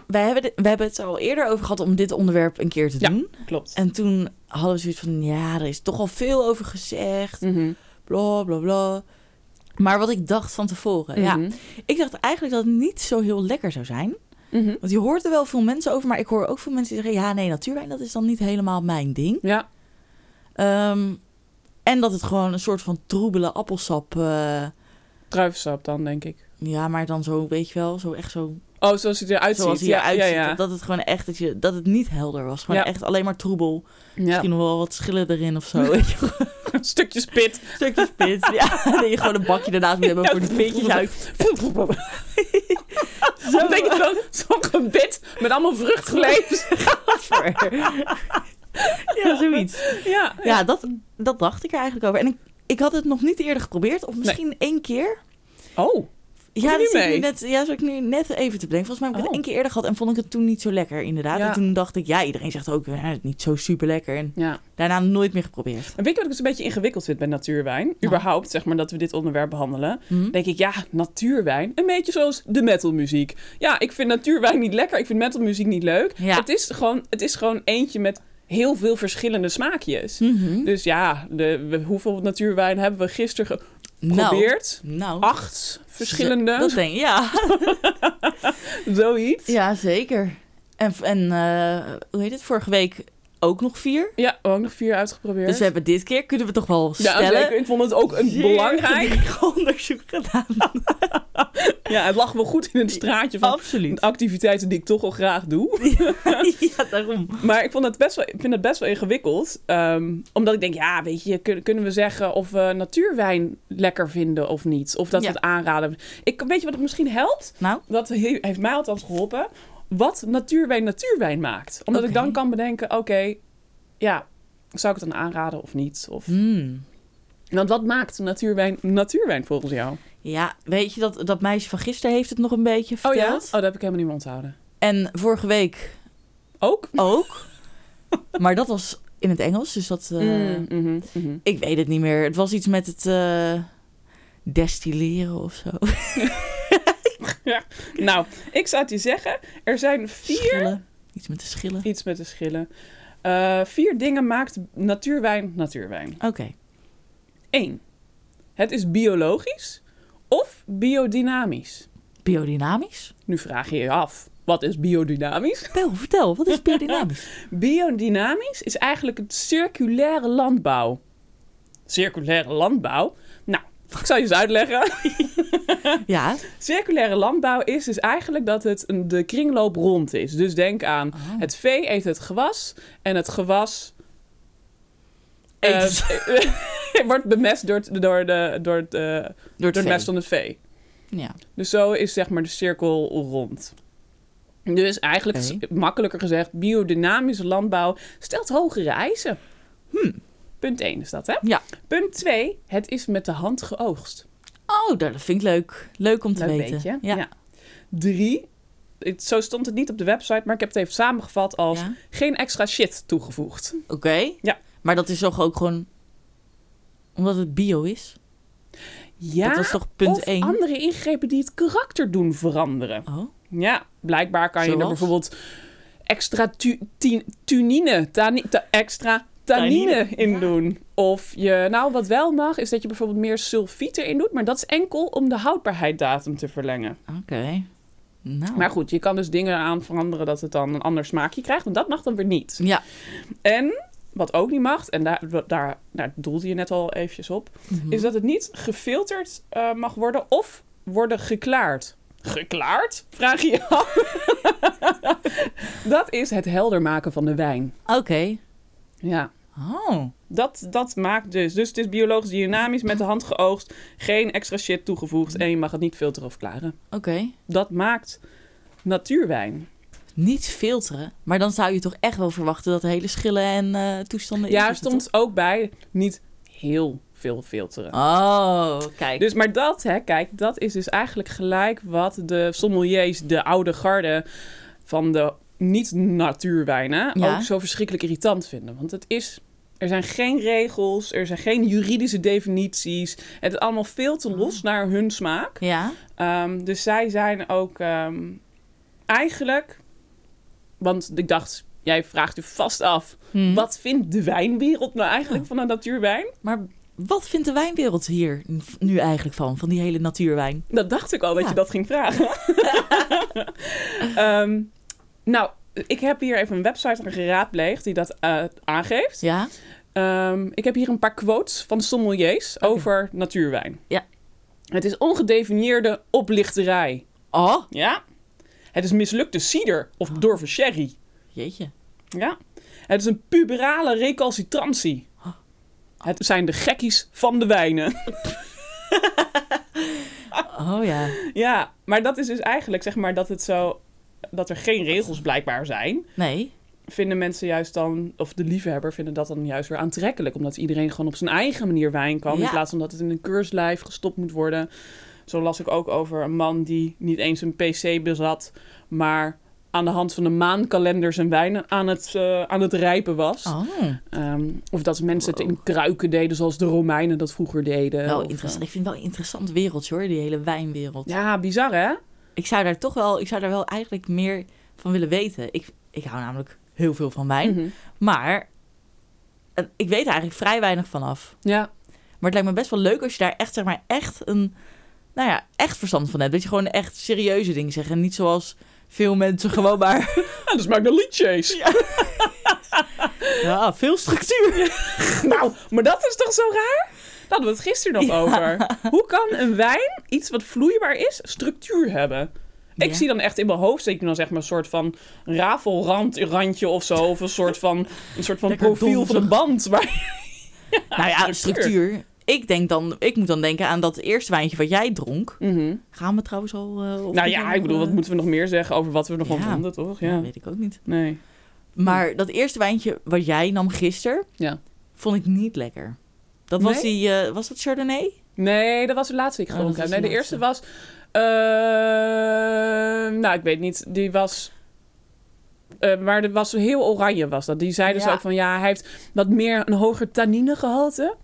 Speaker 1: Wij hebben, dit- we hebben het er al eerder over gehad om dit onderwerp een keer te
Speaker 4: Ja.
Speaker 1: doen.
Speaker 4: Klopt.
Speaker 1: En toen hadden we zoiets van, ja, er is toch al veel over gezegd.
Speaker 4: Mhm.
Speaker 1: Bla, bla, bla. Maar wat ik dacht van tevoren, ja.
Speaker 4: Mhm.
Speaker 1: Ik dacht eigenlijk dat het niet zo heel lekker zou zijn.
Speaker 4: Mhm.
Speaker 1: Want je hoort er wel veel mensen over, maar ik hoor ook veel mensen die zeggen: ja, nee, natuurwijn, dat is dan niet helemaal mijn ding.
Speaker 4: Ja,
Speaker 1: Ehm, en dat het gewoon een soort van troebele appelsap. eh,
Speaker 4: druivensap dan, denk ik.
Speaker 1: ja, maar dan zo, weet je wel, zo echt zo.
Speaker 4: Oh, zoals het eruit
Speaker 1: Zoals hij
Speaker 4: ziet.
Speaker 1: eruit
Speaker 4: ja,
Speaker 1: ziet.
Speaker 4: ja, ja.
Speaker 1: Dat het gewoon echt, dat, je, dat het niet helder was. Gewoon
Speaker 4: Ja.
Speaker 1: echt alleen maar troebel.
Speaker 4: Ja.
Speaker 1: Misschien nog wel wat schillen erin of zo. weet je wel.
Speaker 4: Stukjes pit.
Speaker 1: Stukjes pit. Ja, dat je gewoon een bakje daarnaast moet hebben voor de pitjes uit.
Speaker 4: Dan denk ik wel zo'n gebit met allemaal vruchtgeleefd.
Speaker 1: Ja, zoiets.
Speaker 4: Ja.
Speaker 1: Ja, dat, dat dacht ik er eigenlijk over. En ik, ik had het nog niet eerder geprobeerd. Of misschien één keer.
Speaker 4: Oh. je
Speaker 1: Ja,
Speaker 4: nu
Speaker 1: dat zit ik
Speaker 4: mee?
Speaker 1: nu net, ja, zat ik nu net even te bedenken. Volgens mij heb ik het
Speaker 4: Oh.
Speaker 1: één keer eerder gehad en vond ik het toen niet zo lekker, inderdaad.
Speaker 4: Ja.
Speaker 1: En toen dacht ik, ja, iedereen zegt ook, ja, het is niet zo super lekker. En
Speaker 4: Ja.
Speaker 1: daarna nooit meer geprobeerd.
Speaker 4: En weet je wat ik dus een beetje ingewikkeld vind bij natuurwijn? Überhaupt, zeg maar, dat we dit onderwerp behandelen.
Speaker 1: Mhm.
Speaker 4: Denk ik, ja, natuurwijn. Een beetje zoals de metalmuziek. Ja, ik vind natuurwijn niet lekker. Ik vind metalmuziek niet leuk.
Speaker 1: Ja.
Speaker 4: Het, is gewoon, het is gewoon eentje met heel veel verschillende smaakjes.
Speaker 1: Mhm.
Speaker 4: Dus ja, de, we- hoeveel natuurwijn hebben we gisteren
Speaker 1: Nou,
Speaker 4: geprobeerd?
Speaker 1: nou.
Speaker 4: Acht verschillende,
Speaker 1: Dat denk ik, ja.
Speaker 4: zoiets.
Speaker 1: Ja, zeker. En, en eh, hoe heet het, vorige week ook nog vier.
Speaker 4: Ja, we hebben ook nog vier uitgeprobeerd.
Speaker 1: Dus we hebben dit keer, kunnen we toch wel
Speaker 4: ja,
Speaker 1: stellen...
Speaker 4: zeker. ik vond het ook een
Speaker 1: zeer
Speaker 4: belangrijk.
Speaker 1: gedegen onderzoek gedaan.
Speaker 4: Ja, het lag wel goed in het straatje van
Speaker 1: Absoluut.
Speaker 4: activiteiten die ik toch al graag doe.
Speaker 1: ja, daarom.
Speaker 4: Maar ik, vond het best wel, ik vind het best wel ingewikkeld. ehm, omdat ik denk, ja, weet je, kun- kunnen we zeggen of we natuurwijn lekker vinden of niet? Of dat
Speaker 1: Ja.
Speaker 4: we het aanraden. Ik, weet je wat het misschien helpt?
Speaker 1: Nou?
Speaker 4: Dat he- heeft mij althans geholpen. Wat natuurwijn natuurwijn maakt. Omdat ik
Speaker 1: Oké.
Speaker 4: dan kan bedenken, oké, ja, zou ik het dan aanraden of niet? Of,
Speaker 1: Hmm.
Speaker 4: Want wat maakt natuurwijn natuurwijn volgens jou?
Speaker 1: Ja, weet je, dat, dat meisje van gisteren heeft het nog een beetje
Speaker 4: Oh ja?
Speaker 1: verteld.
Speaker 4: Oh, dat heb ik helemaal niet meer onthouden.
Speaker 1: En vorige week
Speaker 4: Ook?
Speaker 1: ook. maar dat was in het Engels, dus dat... eh,
Speaker 4: Mm, mhm, mhm.
Speaker 1: Ik weet het niet meer. Het was iets met het eh, destilleren of zo.
Speaker 4: Nou, ik zou het je zeggen. Er zijn vier...
Speaker 1: Schillen. Iets met de schillen.
Speaker 4: Iets met de schillen. Eh, vier dingen maakt natuurwijn natuurwijn.
Speaker 1: Oké.
Speaker 4: Eén. Het is biologisch of biodynamisch.
Speaker 1: Biodynamisch?
Speaker 4: Nu vraag je je af, wat is biodynamisch?
Speaker 1: Wel, vertel. Wat is biodynamisch?
Speaker 4: Biodynamisch is eigenlijk het circulaire landbouw. Circulaire landbouw? Nou, ik zal je eens uitleggen.
Speaker 1: ja.
Speaker 4: Circulaire landbouw is dus eigenlijk dat het een- de kringloop rond is. Dus denk aan
Speaker 1: Oh.
Speaker 4: het vee eet het gewas en het gewas eh,
Speaker 1: Eet het-
Speaker 4: ehm, wordt bemest door het, door de, door het, eh, door
Speaker 1: Door
Speaker 4: het
Speaker 1: het
Speaker 4: mest
Speaker 1: vee.
Speaker 4: van het vee.
Speaker 1: Ja.
Speaker 4: Dus zo is zeg maar de cirkel rond. Dus eigenlijk,
Speaker 1: Oké.
Speaker 4: s- makkelijker gezegd, biodynamische landbouw stelt hogere eisen.
Speaker 1: Hmm.
Speaker 4: Punt 1 is dat, hè?
Speaker 1: Ja.
Speaker 4: Punt 2, het is met de hand geoogst.
Speaker 1: Oh, dat vind ik leuk. Leuk om te
Speaker 4: Leuk
Speaker 1: weten.
Speaker 4: beetje.
Speaker 1: Ja.
Speaker 4: Ja. 3, het- zo stond het niet op de website, maar ik heb het even samengevat als
Speaker 1: Ja.
Speaker 4: geen extra shit toegevoegd.
Speaker 1: Oké.
Speaker 4: Ja.
Speaker 1: Maar dat is toch ook gewoon... Omdat het bio is?
Speaker 4: Ja,
Speaker 1: dat was toch punt
Speaker 4: of
Speaker 1: 1?
Speaker 4: andere ingrepen die het karakter doen veranderen.
Speaker 1: Oh.
Speaker 4: Ja, blijkbaar kan je er
Speaker 1: Zoals?
Speaker 4: bijvoorbeeld extra tu- ti- tunine, tani- ta- extra tanine,
Speaker 1: Tanine,
Speaker 4: in
Speaker 1: ja.
Speaker 4: doen. Of je, nou wat wel mag, is dat je bijvoorbeeld meer sulfiet erin doet, maar dat is enkel om de houdbaarheidsdatum te verlengen.
Speaker 1: Oké. Nou.
Speaker 4: Maar goed, je kan dus dingen aan veranderen dat het dan een ander smaakje krijgt, want dat mag dan weer niet.
Speaker 1: Ja.
Speaker 4: En wat ook niet mag, en daar, daar, daar doelde je net al eventjes op,
Speaker 1: Mhm.
Speaker 4: is dat het niet gefilterd eh, mag worden of worden geklaard. Geklaard? Vraag je je af. dat is het helder maken van de wijn.
Speaker 1: Oké.
Speaker 4: Ja.
Speaker 1: Oh.
Speaker 4: Dat, dat maakt dus. Dus het is biologisch dynamisch, met de hand geoogst. Geen extra shit toegevoegd en je mag het niet filteren of klaren.
Speaker 1: Oké.
Speaker 4: Dat maakt natuurwijn.
Speaker 1: Niet filteren. Maar dan zou je toch echt wel verwachten dat de hele schillen en eh, toestanden... in
Speaker 4: Ja, er
Speaker 1: zitten,
Speaker 4: stond ook bij niet heel veel filteren.
Speaker 1: toch? Oh, kijk.
Speaker 4: Dus, maar dat, hè, kijk, dat is dus eigenlijk gelijk wat de sommeliers, de oude garde van de niet-natuurwijnen,
Speaker 1: Ja.
Speaker 4: ook zo verschrikkelijk irritant vinden. Want het is, er zijn geen regels, er zijn geen juridische definities. Het is allemaal veel te los naar hun smaak.
Speaker 1: Ja.
Speaker 4: Ehm, dus zij zijn ook ehm, eigenlijk, want ik dacht, jij vraagt je vast af,
Speaker 1: Hm.
Speaker 4: wat vindt de wijnwereld nou eigenlijk van een natuurwijn?
Speaker 1: Maar wat vindt de wijnwereld hier nu eigenlijk van? Van die hele natuurwijn?
Speaker 4: Dat dacht ik al dat
Speaker 1: Ja.
Speaker 4: je dat ging vragen. Ehm, nou, ik heb hier even een website aan geraadpleegd die dat eh, aangeeft.
Speaker 1: Ja?
Speaker 4: Ehm, ik heb hier een paar quotes van sommeliers over natuurwijn.
Speaker 1: Ja.
Speaker 4: Het is ongedefinieerde oplichterij.
Speaker 1: Oh,
Speaker 4: Ja. Het is mislukte cider of bedorven sherry.
Speaker 1: jeetje.
Speaker 4: Ja. Het is een puberale recalcitrantie. Het zijn de gekkies van de wijnen.
Speaker 1: Oh ja.
Speaker 4: Ja, maar dat is dus eigenlijk zeg maar dat het zo dat er geen regels blijkbaar zijn.
Speaker 1: Nee.
Speaker 4: Vinden mensen juist dan, of de liefhebber vinden dat dan juist weer aantrekkelijk. Omdat iedereen gewoon op zijn eigen manier wijn kan.
Speaker 1: Ja.
Speaker 4: In plaats van dat het in een keurslijf gestopt moet worden. Zo las ik ook over een man die niet eens een pc bezat. Maar aan de hand van de maankalender zijn wijn aan het, eh, aan het rijpen was.
Speaker 1: Oh.
Speaker 4: Ehm, of dat mensen het in kruiken deden zoals de Romeinen dat vroeger deden.
Speaker 1: Wel
Speaker 4: Of, eh,
Speaker 1: interessant. Ik vind het wel een interessant wereldje hoor, die hele wijnwereld.
Speaker 4: Ja, bizar hè?
Speaker 1: Ik zou daar toch wel, ik zou daar wel eigenlijk meer van willen weten. Ik, ik hou namelijk heel veel van wijn.
Speaker 4: Mhm.
Speaker 1: Maar eh, ik weet er eigenlijk vrij weinig van af.
Speaker 4: Ja,
Speaker 1: Maar het lijkt me best wel leuk als je daar echt, zeg maar, echt een... Nou ja, echt verstand van hebt. Dat je gewoon echt serieuze dingen zegt. En niet zoals veel mensen gewoon maar
Speaker 4: en dus maak de liedjes.
Speaker 1: Ja, veel structuur.
Speaker 4: Nou, maar dat is toch zo raar? Daar hadden we het gisteren nog
Speaker 1: Ja.
Speaker 4: over. Hoe kan een wijn, iets wat vloeibaar is, structuur hebben? Ik
Speaker 1: Ja.
Speaker 4: zie dan echt in mijn hoofd, zie ik dan zeg maar een soort van rafelrandje of zo. Of een soort van, een soort van
Speaker 1: Lekker
Speaker 4: profiel van een
Speaker 1: donzig.
Speaker 4: band. Maar,
Speaker 1: nou ja, structuur. Ik, denk dan, ik moet dan denken aan dat eerste wijntje wat jij dronk. Gaan we trouwens al... eh, of
Speaker 4: Nou
Speaker 1: niet
Speaker 4: ja,
Speaker 1: al,
Speaker 4: ik bedoel, wat
Speaker 1: eh,
Speaker 4: moeten we nog meer zeggen over wat we ervan
Speaker 1: Ja.
Speaker 4: vonden, toch?
Speaker 1: ja,
Speaker 4: Ja.
Speaker 1: weet ik ook niet.
Speaker 4: Nee.
Speaker 1: Maar dat eerste wijntje wat jij nam gisteren,
Speaker 4: Ja.
Speaker 1: vond ik niet lekker. Dat was
Speaker 4: Nee?
Speaker 1: die... eh, was dat Chardonnay?
Speaker 4: Nee, dat was de laatste die ik
Speaker 1: Oh, dat was
Speaker 4: gedronken heb.
Speaker 1: de
Speaker 4: Nee, de eerste was... eh, nou, ik weet niet. Die was... eh, maar er was heel oranje was dat. Die zeiden dus
Speaker 1: Ja.
Speaker 4: ook van ja, hij heeft wat meer een hoger tanninegehalte.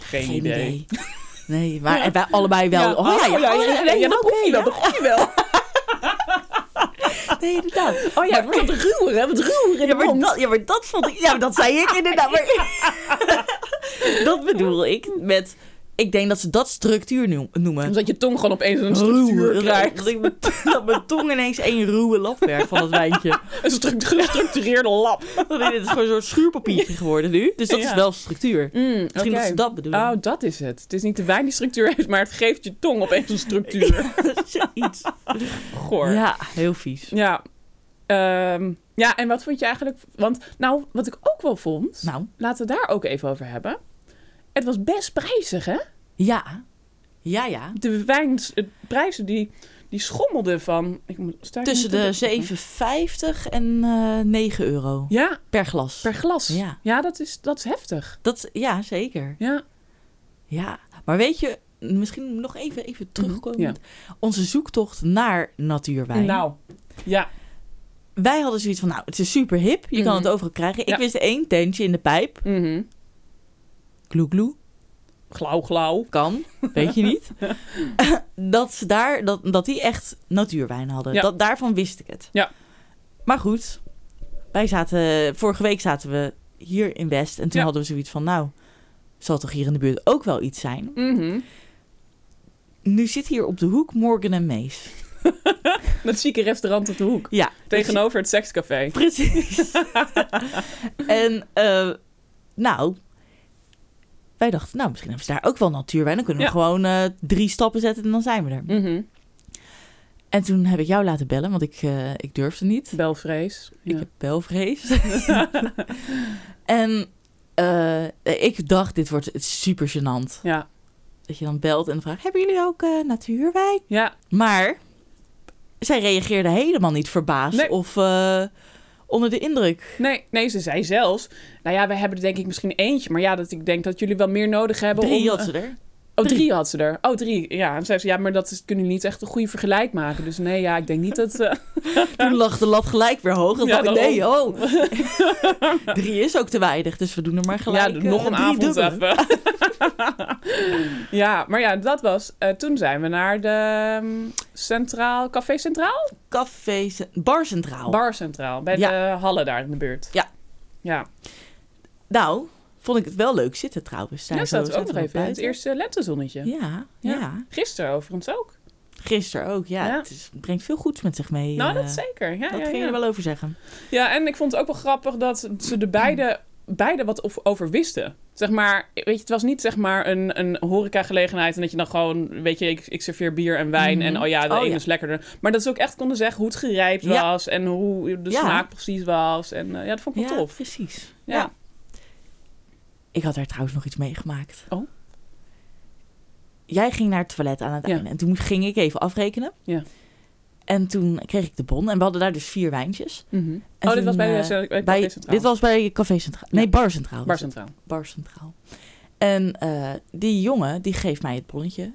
Speaker 4: Geen,
Speaker 1: Geen
Speaker 4: idee.
Speaker 1: idee. Nee, maar en wij allebei wel.
Speaker 4: Ja,
Speaker 1: oh ja, ja, oh, ja,
Speaker 4: ja, dat proef je wel, dat proef je wel.
Speaker 1: Nee, inderdaad.
Speaker 4: Oh ja, het wordt wat ruwer, hè? Wat ruwer in
Speaker 1: Ja
Speaker 4: de
Speaker 1: maar,
Speaker 4: mond.
Speaker 1: dat, ja, maar dat vond ik... Ja, maar dat zei ik inderdaad. Maar... dat bedoel ik met... Ik denk dat ze dat structuur noem- noemen.
Speaker 4: Omdat je tong gewoon opeens een structuur
Speaker 1: Dat-
Speaker 4: krijgt.
Speaker 1: Dat, ik mijn- dat mijn tong ineens één ruwe lap werd van dat wijntje.
Speaker 4: Een struct- gestructureerde lap.
Speaker 1: Dat is- het is gewoon een soort schuurpapiertje geworden nu. Dus dat
Speaker 4: Ja.
Speaker 1: is wel structuur.
Speaker 4: Mm,
Speaker 1: Misschien dat ze dat bedoelen.
Speaker 4: Oh, dat is het. Het is niet de wijn die structuur heeft, maar het geeft je tong opeens een structuur.
Speaker 1: Zoiets.
Speaker 4: Goor.
Speaker 1: Ja, heel vies.
Speaker 4: Ja. Ehm, ja, en wat vond je eigenlijk... Want nou, wat ik ook wel vond...
Speaker 1: Nou,
Speaker 4: Laten we daar ook even over hebben. Het was best prijzig, hè?
Speaker 1: ja. Ja, ja.
Speaker 4: De wijn, de prijzen die, die schommelden van... Ik moet, sta ik
Speaker 1: Tussen
Speaker 4: nu te-
Speaker 1: de 7,50 en eh 9 euro
Speaker 4: Ja,
Speaker 1: per glas.
Speaker 4: per glas.
Speaker 1: Ja.
Speaker 4: dat, is, dat is heftig.
Speaker 1: Dat, ja, zeker.
Speaker 4: Ja.
Speaker 1: Ja, maar weet je, misschien nog even, even terugkomen.
Speaker 4: Mhm, ja.
Speaker 1: Onze zoektocht naar natuurwijn.
Speaker 4: Nou, ja.
Speaker 1: Wij hadden zoiets van, nou, het is super hip. Je kan
Speaker 4: Mhm.
Speaker 1: het overal krijgen. Ik
Speaker 4: Ja.
Speaker 1: wist één tentje in de pijp.
Speaker 4: Mhm.
Speaker 1: Gloe gloe.
Speaker 4: Glauw, glauw.
Speaker 1: Kan, weet je niet. dat, ze daar, dat, dat die echt natuurwijn hadden.
Speaker 4: Ja.
Speaker 1: Dat, daarvan wist ik het.
Speaker 4: Ja.
Speaker 1: Maar goed, wij zaten, vorige week zaten we hier in West. En toen
Speaker 4: Ja.
Speaker 1: hadden we zoiets van, nou, zal toch hier in de buurt ook wel iets zijn?
Speaker 4: Mhm.
Speaker 1: Nu zit hier op de hoek Morgan en Mees.
Speaker 4: Dat zieke restaurant op de hoek.
Speaker 1: Ja,
Speaker 4: Tegenover het sekscafé.
Speaker 1: Precies. en eh, nou, wij dachten, nou, misschien hebben ze daar ook wel natuurwijn. Dan kunnen we
Speaker 4: Ja.
Speaker 1: gewoon eh, drie stappen zetten en dan zijn we er.
Speaker 4: Mhm.
Speaker 1: En toen heb ik jou laten bellen, want ik, eh, ik durfde niet.
Speaker 4: Belvrees.
Speaker 1: Ik
Speaker 4: Ja.
Speaker 1: heb belvrees. en eh, ik dacht, dit wordt super gênant.
Speaker 4: ja.
Speaker 1: Dat je dan belt en vraagt, hebben jullie ook eh, natuurwijn?
Speaker 4: Ja.
Speaker 1: Maar zij reageerde helemaal niet verbaasd
Speaker 4: Nee.
Speaker 1: of eh, onder de indruk.
Speaker 4: Nee, nee, ze zei zelfs. Nou ja, we hebben er denk ik misschien eentje. Maar ja, dat ik denk dat jullie wel meer nodig hebben. om,
Speaker 1: Drie had
Speaker 4: eh,
Speaker 1: ze er.
Speaker 4: Oh, drie had ze er. Oh, drie. Ja, en zei ze, ja, maar dat is, kunnen jullie niet echt een goede vergelijk maken. Dus nee, ja, ik denk niet dat... eh,
Speaker 1: Toen lag de lat gelijk weer hoog. En
Speaker 4: Ja,
Speaker 1: dacht ik, nee, oh. drie is ook te weinig, dus we doen er maar
Speaker 4: ja,
Speaker 1: gelijk eh,
Speaker 4: nog een
Speaker 1: drie
Speaker 4: avond
Speaker 1: dubbele.
Speaker 4: even. ja, maar ja, dat was... eh, toen zijn we naar de ehm, Centraal... Café Centraal?
Speaker 1: Café, ce- bar centraal.
Speaker 4: Bar Centraal. Bij
Speaker 1: Ja.
Speaker 4: de Halle daar in de buurt.
Speaker 1: Ja.
Speaker 4: Ja,
Speaker 1: Nou, vond ik het wel leuk zitten trouwens.
Speaker 4: ja
Speaker 1: Daar
Speaker 4: dat
Speaker 1: zo
Speaker 4: zaten we ook
Speaker 1: zaten
Speaker 4: nog
Speaker 1: we
Speaker 4: even in. Het
Speaker 1: buiten.
Speaker 4: eerste lentezonnetje.
Speaker 1: Ja, ja.
Speaker 4: Ja. Gisteren overigens ook.
Speaker 1: Gisteren ook, ja.
Speaker 4: Ja.
Speaker 1: Het is- brengt veel goeds met zich mee.
Speaker 4: Nou,
Speaker 1: eh,
Speaker 4: dat zeker. Ja,
Speaker 1: dat
Speaker 4: ja,
Speaker 1: kun je
Speaker 4: ja.
Speaker 1: er wel over zeggen.
Speaker 4: Ja, en ik vond het ook wel grappig dat ze de beide, beide wat of- over wisten. Zeg maar, weet je, het was niet zeg maar een, een horecagelegenheid en dat je dan gewoon, weet je, ik, ik serveer bier en wijn
Speaker 1: Mhm.
Speaker 4: en oh ja, de
Speaker 1: Oh
Speaker 4: een
Speaker 1: ja.
Speaker 4: is lekkerder. Maar dat ze ook echt konden zeggen hoe het gerijpt
Speaker 1: Ja.
Speaker 4: was en hoe de
Speaker 1: Ja.
Speaker 4: smaak precies was. En eh, ja, dat vond ik
Speaker 1: Ja,
Speaker 4: wel tof.
Speaker 1: precies.
Speaker 4: Ja.
Speaker 1: Ja. Ik had daar trouwens nog iets meegemaakt.
Speaker 4: Oh.
Speaker 1: Jij ging naar het toilet aan het
Speaker 4: Ja.
Speaker 1: einde. En toen ging ik even afrekenen.
Speaker 4: Ja.
Speaker 1: En toen kreeg ik de bon. En we hadden daar dus vier wijntjes.
Speaker 4: Mhm.
Speaker 1: En
Speaker 4: Oh, dit
Speaker 1: toen,
Speaker 4: was bij,
Speaker 1: eh,
Speaker 4: de cel- bij,
Speaker 1: bij,
Speaker 4: Café Centraal.
Speaker 1: Dit was bij Café Centraal. Nee,
Speaker 4: Ja.
Speaker 1: Bar Centraal.
Speaker 4: Bar Centraal.
Speaker 1: Bar Centraal. En eh, die jongen, die geeft mij het bonnetje.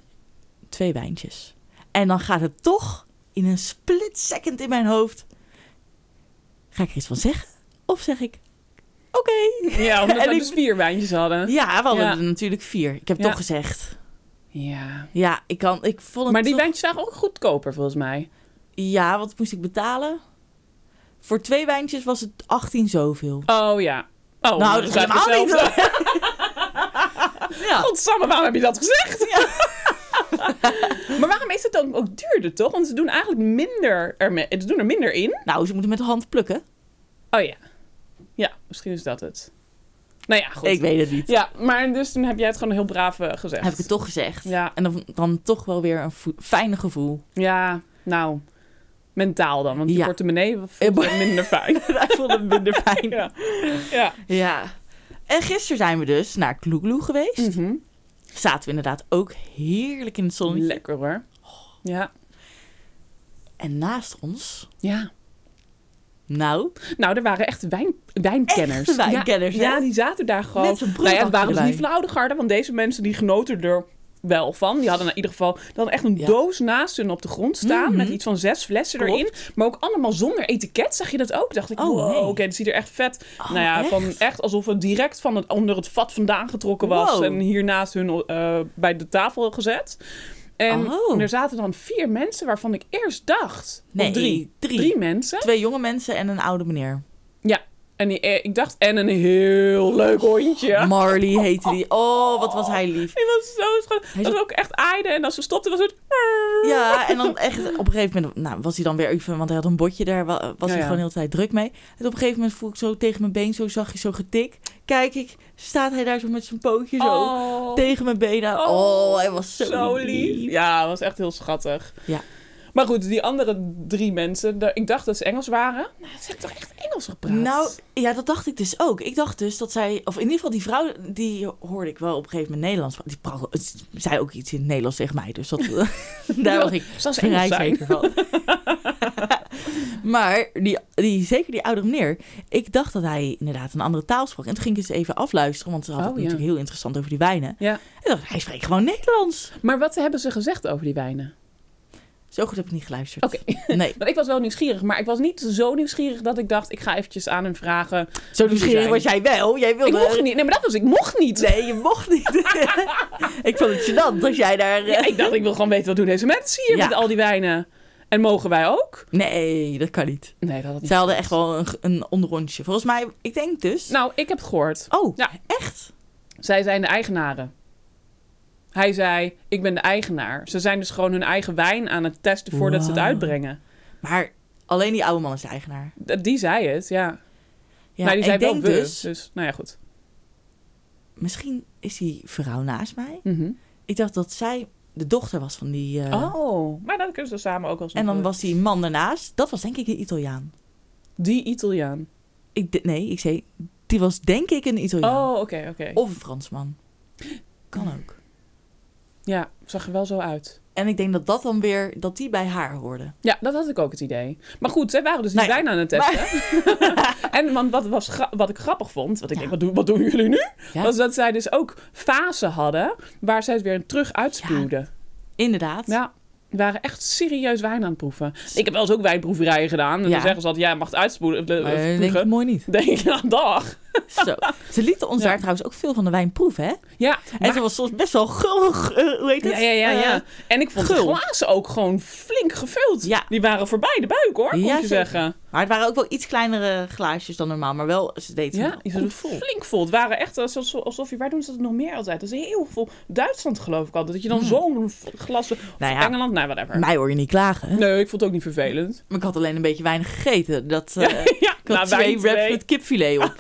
Speaker 1: Twee wijntjes. En dan gaat het toch in een split second in mijn hoofd. Ga ik er iets van zeggen? Of zeg ik, oké.
Speaker 4: Ja, omdat
Speaker 1: En
Speaker 4: we
Speaker 1: ik-
Speaker 4: dus vier wijntjes hadden.
Speaker 1: Ja, we hadden
Speaker 4: Ja.
Speaker 1: er natuurlijk vier. Ik heb
Speaker 4: Ja.
Speaker 1: toch gezegd.
Speaker 4: Ja.
Speaker 1: Ja, ik kan, ik vond het
Speaker 4: Maar die
Speaker 1: toch-
Speaker 4: wijntjes waren ook goedkoper volgens mij.
Speaker 1: Ja, wat moest ik betalen? Voor twee wijntjes was het 18 zoveel.
Speaker 4: Oh ja. Oh,
Speaker 1: nou, dat is
Speaker 4: is
Speaker 1: helemaal niet. ja.
Speaker 4: Godsamme, waarom heb je dat gezegd? maar waarom is het dan ook duurder, toch? Want ze doen eigenlijk minder, erme- ze doen er minder in.
Speaker 1: Nou, ze moeten met de hand plukken.
Speaker 4: Oh ja. Ja, misschien is dat het. Nou ja, goed.
Speaker 1: Ik weet het niet.
Speaker 4: Ja, maar dus toen heb jij het gewoon heel braaf eh, gezegd.
Speaker 1: Heb ik het toch gezegd.
Speaker 4: Ja.
Speaker 1: En dan, dan toch wel weer een vo- fijne gevoel.
Speaker 4: Ja, nou, mentaal dan. Want je
Speaker 1: Ja.
Speaker 4: portemonnee vond je minder fijn.
Speaker 1: Hij voelde het minder fijn. Ja.
Speaker 4: ja. ja.
Speaker 1: En gisteren zijn we dus naar Kloekloe geweest.
Speaker 4: Mhm.
Speaker 1: Zaten we inderdaad ook heerlijk in het zonnetje.
Speaker 4: Lekker hoor. Ja.
Speaker 1: en naast ons,
Speaker 4: Ja.
Speaker 1: nou,
Speaker 4: Nou, er waren echt wijn, wijnkenners.
Speaker 1: Echte wijnkenners,
Speaker 4: ja,
Speaker 1: hè?
Speaker 4: ja, die zaten daar gewoon.
Speaker 1: met een broek
Speaker 4: Nou ja, het
Speaker 1: achter
Speaker 4: waren
Speaker 1: de
Speaker 4: dus
Speaker 1: lijn.
Speaker 4: niet van de oude garde, want deze mensen die genoten er wel van. Die hadden in ieder geval dan echt een
Speaker 1: Ja.
Speaker 4: doos naast hun op de grond staan.
Speaker 1: Mhm.
Speaker 4: Met iets van zes flessen
Speaker 1: Klopt.
Speaker 4: erin. Maar ook allemaal zonder etiket. Zag je dat ook? Dacht ik,
Speaker 1: Oh,
Speaker 4: wow,
Speaker 1: nee.
Speaker 4: oké, dat ziet er echt vet.
Speaker 1: Oh,
Speaker 4: nou ja,
Speaker 1: echt?
Speaker 4: Van echt alsof het direct van het, onder het vat vandaan getrokken was.
Speaker 1: Wow.
Speaker 4: En hiernaast hun eh, bij de tafel gezet. En
Speaker 1: Oh.
Speaker 4: er zaten dan vier mensen waarvan ik eerst dacht... of
Speaker 1: Nee,
Speaker 4: drie.
Speaker 1: drie.
Speaker 4: Drie mensen.
Speaker 1: Twee jonge mensen en een oude meneer.
Speaker 4: En die- eh, ik dacht, en een heel leuk hondje.
Speaker 1: Marley heette die. Oh, wat was hij lief.
Speaker 4: Die was zo schattig.
Speaker 1: Hij
Speaker 4: Dat
Speaker 1: zat-
Speaker 4: we ook echt aaiden. En als ze stopte was het...
Speaker 1: Ja, en dan echt op een gegeven moment nou, was hij dan weer even, want hij had een botje daar, wa- was hij
Speaker 4: ja.
Speaker 1: gewoon de hele tijd druk mee. En op een gegeven moment voel ik zo tegen mijn been zo zachtjes zo getik. Kijk ik, staat hij daar zo met zijn pootje zo
Speaker 4: Oh.
Speaker 1: tegen mijn benen. aan. Oh, hij was zo, lief.
Speaker 4: Ja, dat was echt heel schattig.
Speaker 1: Ja.
Speaker 4: Maar goed, die andere drie mensen, daar- ik dacht dat ze Engels waren. Nou, ze hebben toch echt Engels gepraat?
Speaker 1: Nou, ja, dat dacht ik dus ook. Ik dacht dus dat zij, of in ieder geval die vrouw, die hoorde ik wel op een gegeven moment Nederlands. Die pra- zei ook iets in het Nederlands tegen mij, dus dat, daar was ik
Speaker 4: Zal ze Engels
Speaker 1: vrij
Speaker 4: zijn?
Speaker 1: zeker van. maar die, die, zeker die oudere meneer, ik dacht dat hij inderdaad een andere taal sprak. En toen ging ik eens even afluisteren, want ze hadden
Speaker 4: Oh,
Speaker 1: het
Speaker 4: ja.
Speaker 1: natuurlijk heel interessant over die wijnen.
Speaker 4: Ja.
Speaker 1: En dacht, ik, hij spreekt gewoon Nederlands.
Speaker 4: Maar wat hebben ze gezegd over die wijnen?
Speaker 1: Zo goed heb ik niet geluisterd.
Speaker 4: Oké.
Speaker 1: Nee,
Speaker 4: Want ik was wel nieuwsgierig, maar ik was niet zo nieuwsgierig dat ik dacht, ik ga eventjes aan hem vragen.
Speaker 1: zo nieuwsgierig
Speaker 4: zijn.
Speaker 1: was jij wel. Jij wilde...
Speaker 4: Ik mocht niet. Nee, maar dat was, ik mocht niet.
Speaker 1: Nee, je mocht niet. ik vond het gênant dat jij daar... eh,
Speaker 4: Ja, ik dacht, ik wil gewoon weten, wat doen deze mensen hier
Speaker 1: Ja.
Speaker 4: met al die wijnen? En mogen wij ook?
Speaker 1: Nee, dat kan niet.
Speaker 4: Nee, dat had niet.
Speaker 1: Zij hadden echt wel een, een onderrondje. Volgens mij, ik denk dus...
Speaker 4: Nou, ik heb het gehoord.
Speaker 1: oh,
Speaker 4: Ja.
Speaker 1: echt?
Speaker 4: Zij zijn de eigenaren. Hij zei, ik ben de eigenaar. Ze zijn dus gewoon hun eigen wijn aan het testen voordat ze het
Speaker 1: Wow.
Speaker 4: uitbrengen.
Speaker 1: Maar alleen die oude man is de eigenaar.
Speaker 4: D- Die zei het, ja.
Speaker 1: Ja,
Speaker 4: maar die zei
Speaker 1: ik denk
Speaker 4: wel we,
Speaker 1: dus...
Speaker 4: dus nou ja, goed.
Speaker 1: Misschien is die vrouw naast mij.
Speaker 4: Mhm.
Speaker 1: Ik dacht dat zij de dochter was van die... eh,
Speaker 4: Oh, maar dan kunnen ze samen ook wel eens
Speaker 1: En dan
Speaker 4: nog-
Speaker 1: was die man daarnaast. Dat was denk ik een Italiaan.
Speaker 4: Die Italiaan.
Speaker 1: Ik, d- nee, ik zei... Die was denk ik een Italiaan.
Speaker 4: Oh, oké, oké.
Speaker 1: Of een Fransman. Kan ook.
Speaker 4: Ja, zag er wel zo uit.
Speaker 1: En ik denk dat dat dan weer... Dat die bij haar hoorde.
Speaker 4: Ja, dat had ik ook het idee. Maar goed, zij waren dus die
Speaker 1: Nou ja,
Speaker 4: wijn aan het testen. en want wat, was gra- wat ik grappig vond, wat ik
Speaker 1: Ja.
Speaker 4: denk, wat doen, wat doen jullie nu?
Speaker 1: Ja.
Speaker 4: Was dat zij dus ook fasen hadden waar zij het weer terug uitspuwden.
Speaker 1: Inderdaad.
Speaker 4: Ja, we waren echt serieus wijn aan het proeven. Ik heb wel eens ook wijnproeverijen gedaan. En
Speaker 1: Ja.
Speaker 4: dan zeggen ze altijd, ja, je mag het uitspoelen. eh,
Speaker 1: Maar
Speaker 4: eh,
Speaker 1: dat denk ik
Speaker 4: proeven.
Speaker 1: mooi niet.
Speaker 4: Denk ik, nou, dag.
Speaker 1: Zo. Ze lieten ons
Speaker 4: Ja.
Speaker 1: daar trouwens ook veel van de wijn proeven, hè?
Speaker 4: Ja,
Speaker 1: En
Speaker 4: maar-
Speaker 1: ze was soms best wel gullig, eh, hoe heet het?
Speaker 4: ja, ja, ja, ja.
Speaker 1: Eh,
Speaker 4: En ik vond
Speaker 1: gul.
Speaker 4: de glazen ook gewoon flink gevuld.
Speaker 1: Ja.
Speaker 4: Die waren voorbij de buik, hoor, moet
Speaker 1: Ja,
Speaker 4: je
Speaker 1: zeker.
Speaker 4: zeggen.
Speaker 1: maar het waren ook wel iets kleinere glaasjes dan normaal. Maar wel, ze deed
Speaker 4: Ja,
Speaker 1: het
Speaker 4: die
Speaker 1: ja,
Speaker 4: zijn
Speaker 1: goed vol.
Speaker 4: flink vol. Het waren echt alsof, alsof je... Waar doen ze dat nog meer altijd? Dat is heel veel. Duitsland geloof ik altijd. Dat je dan zo'n glas... of
Speaker 1: Nou ja.
Speaker 4: Engeland, Hmm. nou, whatever.
Speaker 1: Mij hoor je niet klagen. hè?
Speaker 4: Nee, ik vond het ook niet vervelend.
Speaker 1: Maar ik had alleen een beetje weinig gegeten. Dat, eh, ik
Speaker 4: ja,
Speaker 1: had
Speaker 4: nou, wij
Speaker 1: twee wraps
Speaker 4: twee
Speaker 1: met kipfilet op.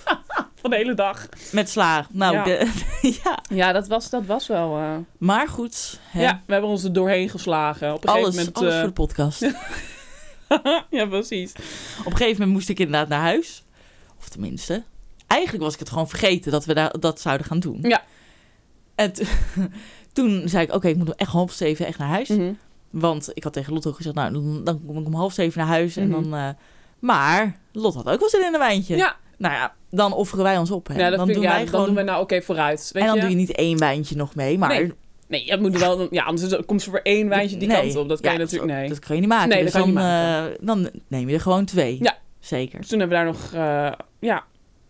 Speaker 4: van de hele dag.
Speaker 1: Met sla. Nou,
Speaker 4: Ja.
Speaker 1: de- ja.
Speaker 4: Ja, dat was, dat was wel... eh,
Speaker 1: Maar goed. Hè?
Speaker 4: Ja, we hebben ons er doorheen geslagen. Op een
Speaker 1: Alles, alles
Speaker 4: gegeven
Speaker 1: voor de
Speaker 4: moment.
Speaker 1: podcast.
Speaker 4: eh, ja, precies.
Speaker 1: Op een gegeven moment moest ik inderdaad naar huis. Of tenminste, eigenlijk was ik het gewoon vergeten dat we daar, dat zouden gaan doen.
Speaker 4: Ja.
Speaker 1: En t- toen zei ik, oké, ik moet om echt half zeven echt naar huis.
Speaker 4: Mhm.
Speaker 1: Want ik had tegen Lot ook gezegd, nou, dan- dan kom ik om half zeven naar huis. En
Speaker 4: Mhm.
Speaker 1: dan, eh, maar Lot had ook wel zin in een wijntje.
Speaker 4: Ja,
Speaker 1: Nou ja, dan offeren wij ons op. Hè.
Speaker 4: ja, dat
Speaker 1: dan
Speaker 4: vind ik,
Speaker 1: doen
Speaker 4: ja,
Speaker 1: wij
Speaker 4: dan
Speaker 1: gewoon...
Speaker 4: doen we nou oké vooruit. Weet
Speaker 1: en dan
Speaker 4: je?
Speaker 1: doe je niet één wijntje nog mee, maar...
Speaker 4: Nee, Nee, dat moet wel, ja, anders is- komt ze voor één wijntje die
Speaker 1: Nee.
Speaker 4: kant op. Dat kan
Speaker 1: Ja,
Speaker 4: je natuurlijk
Speaker 1: dat-
Speaker 4: nee.
Speaker 1: Dat kan je niet maken.
Speaker 4: Nee,
Speaker 1: dus
Speaker 4: dat kan
Speaker 1: dan,
Speaker 4: je niet
Speaker 1: eh, dan neem je er gewoon twee.
Speaker 4: Ja.
Speaker 1: Zeker.
Speaker 4: Toen hebben we daar nog... eh, ja,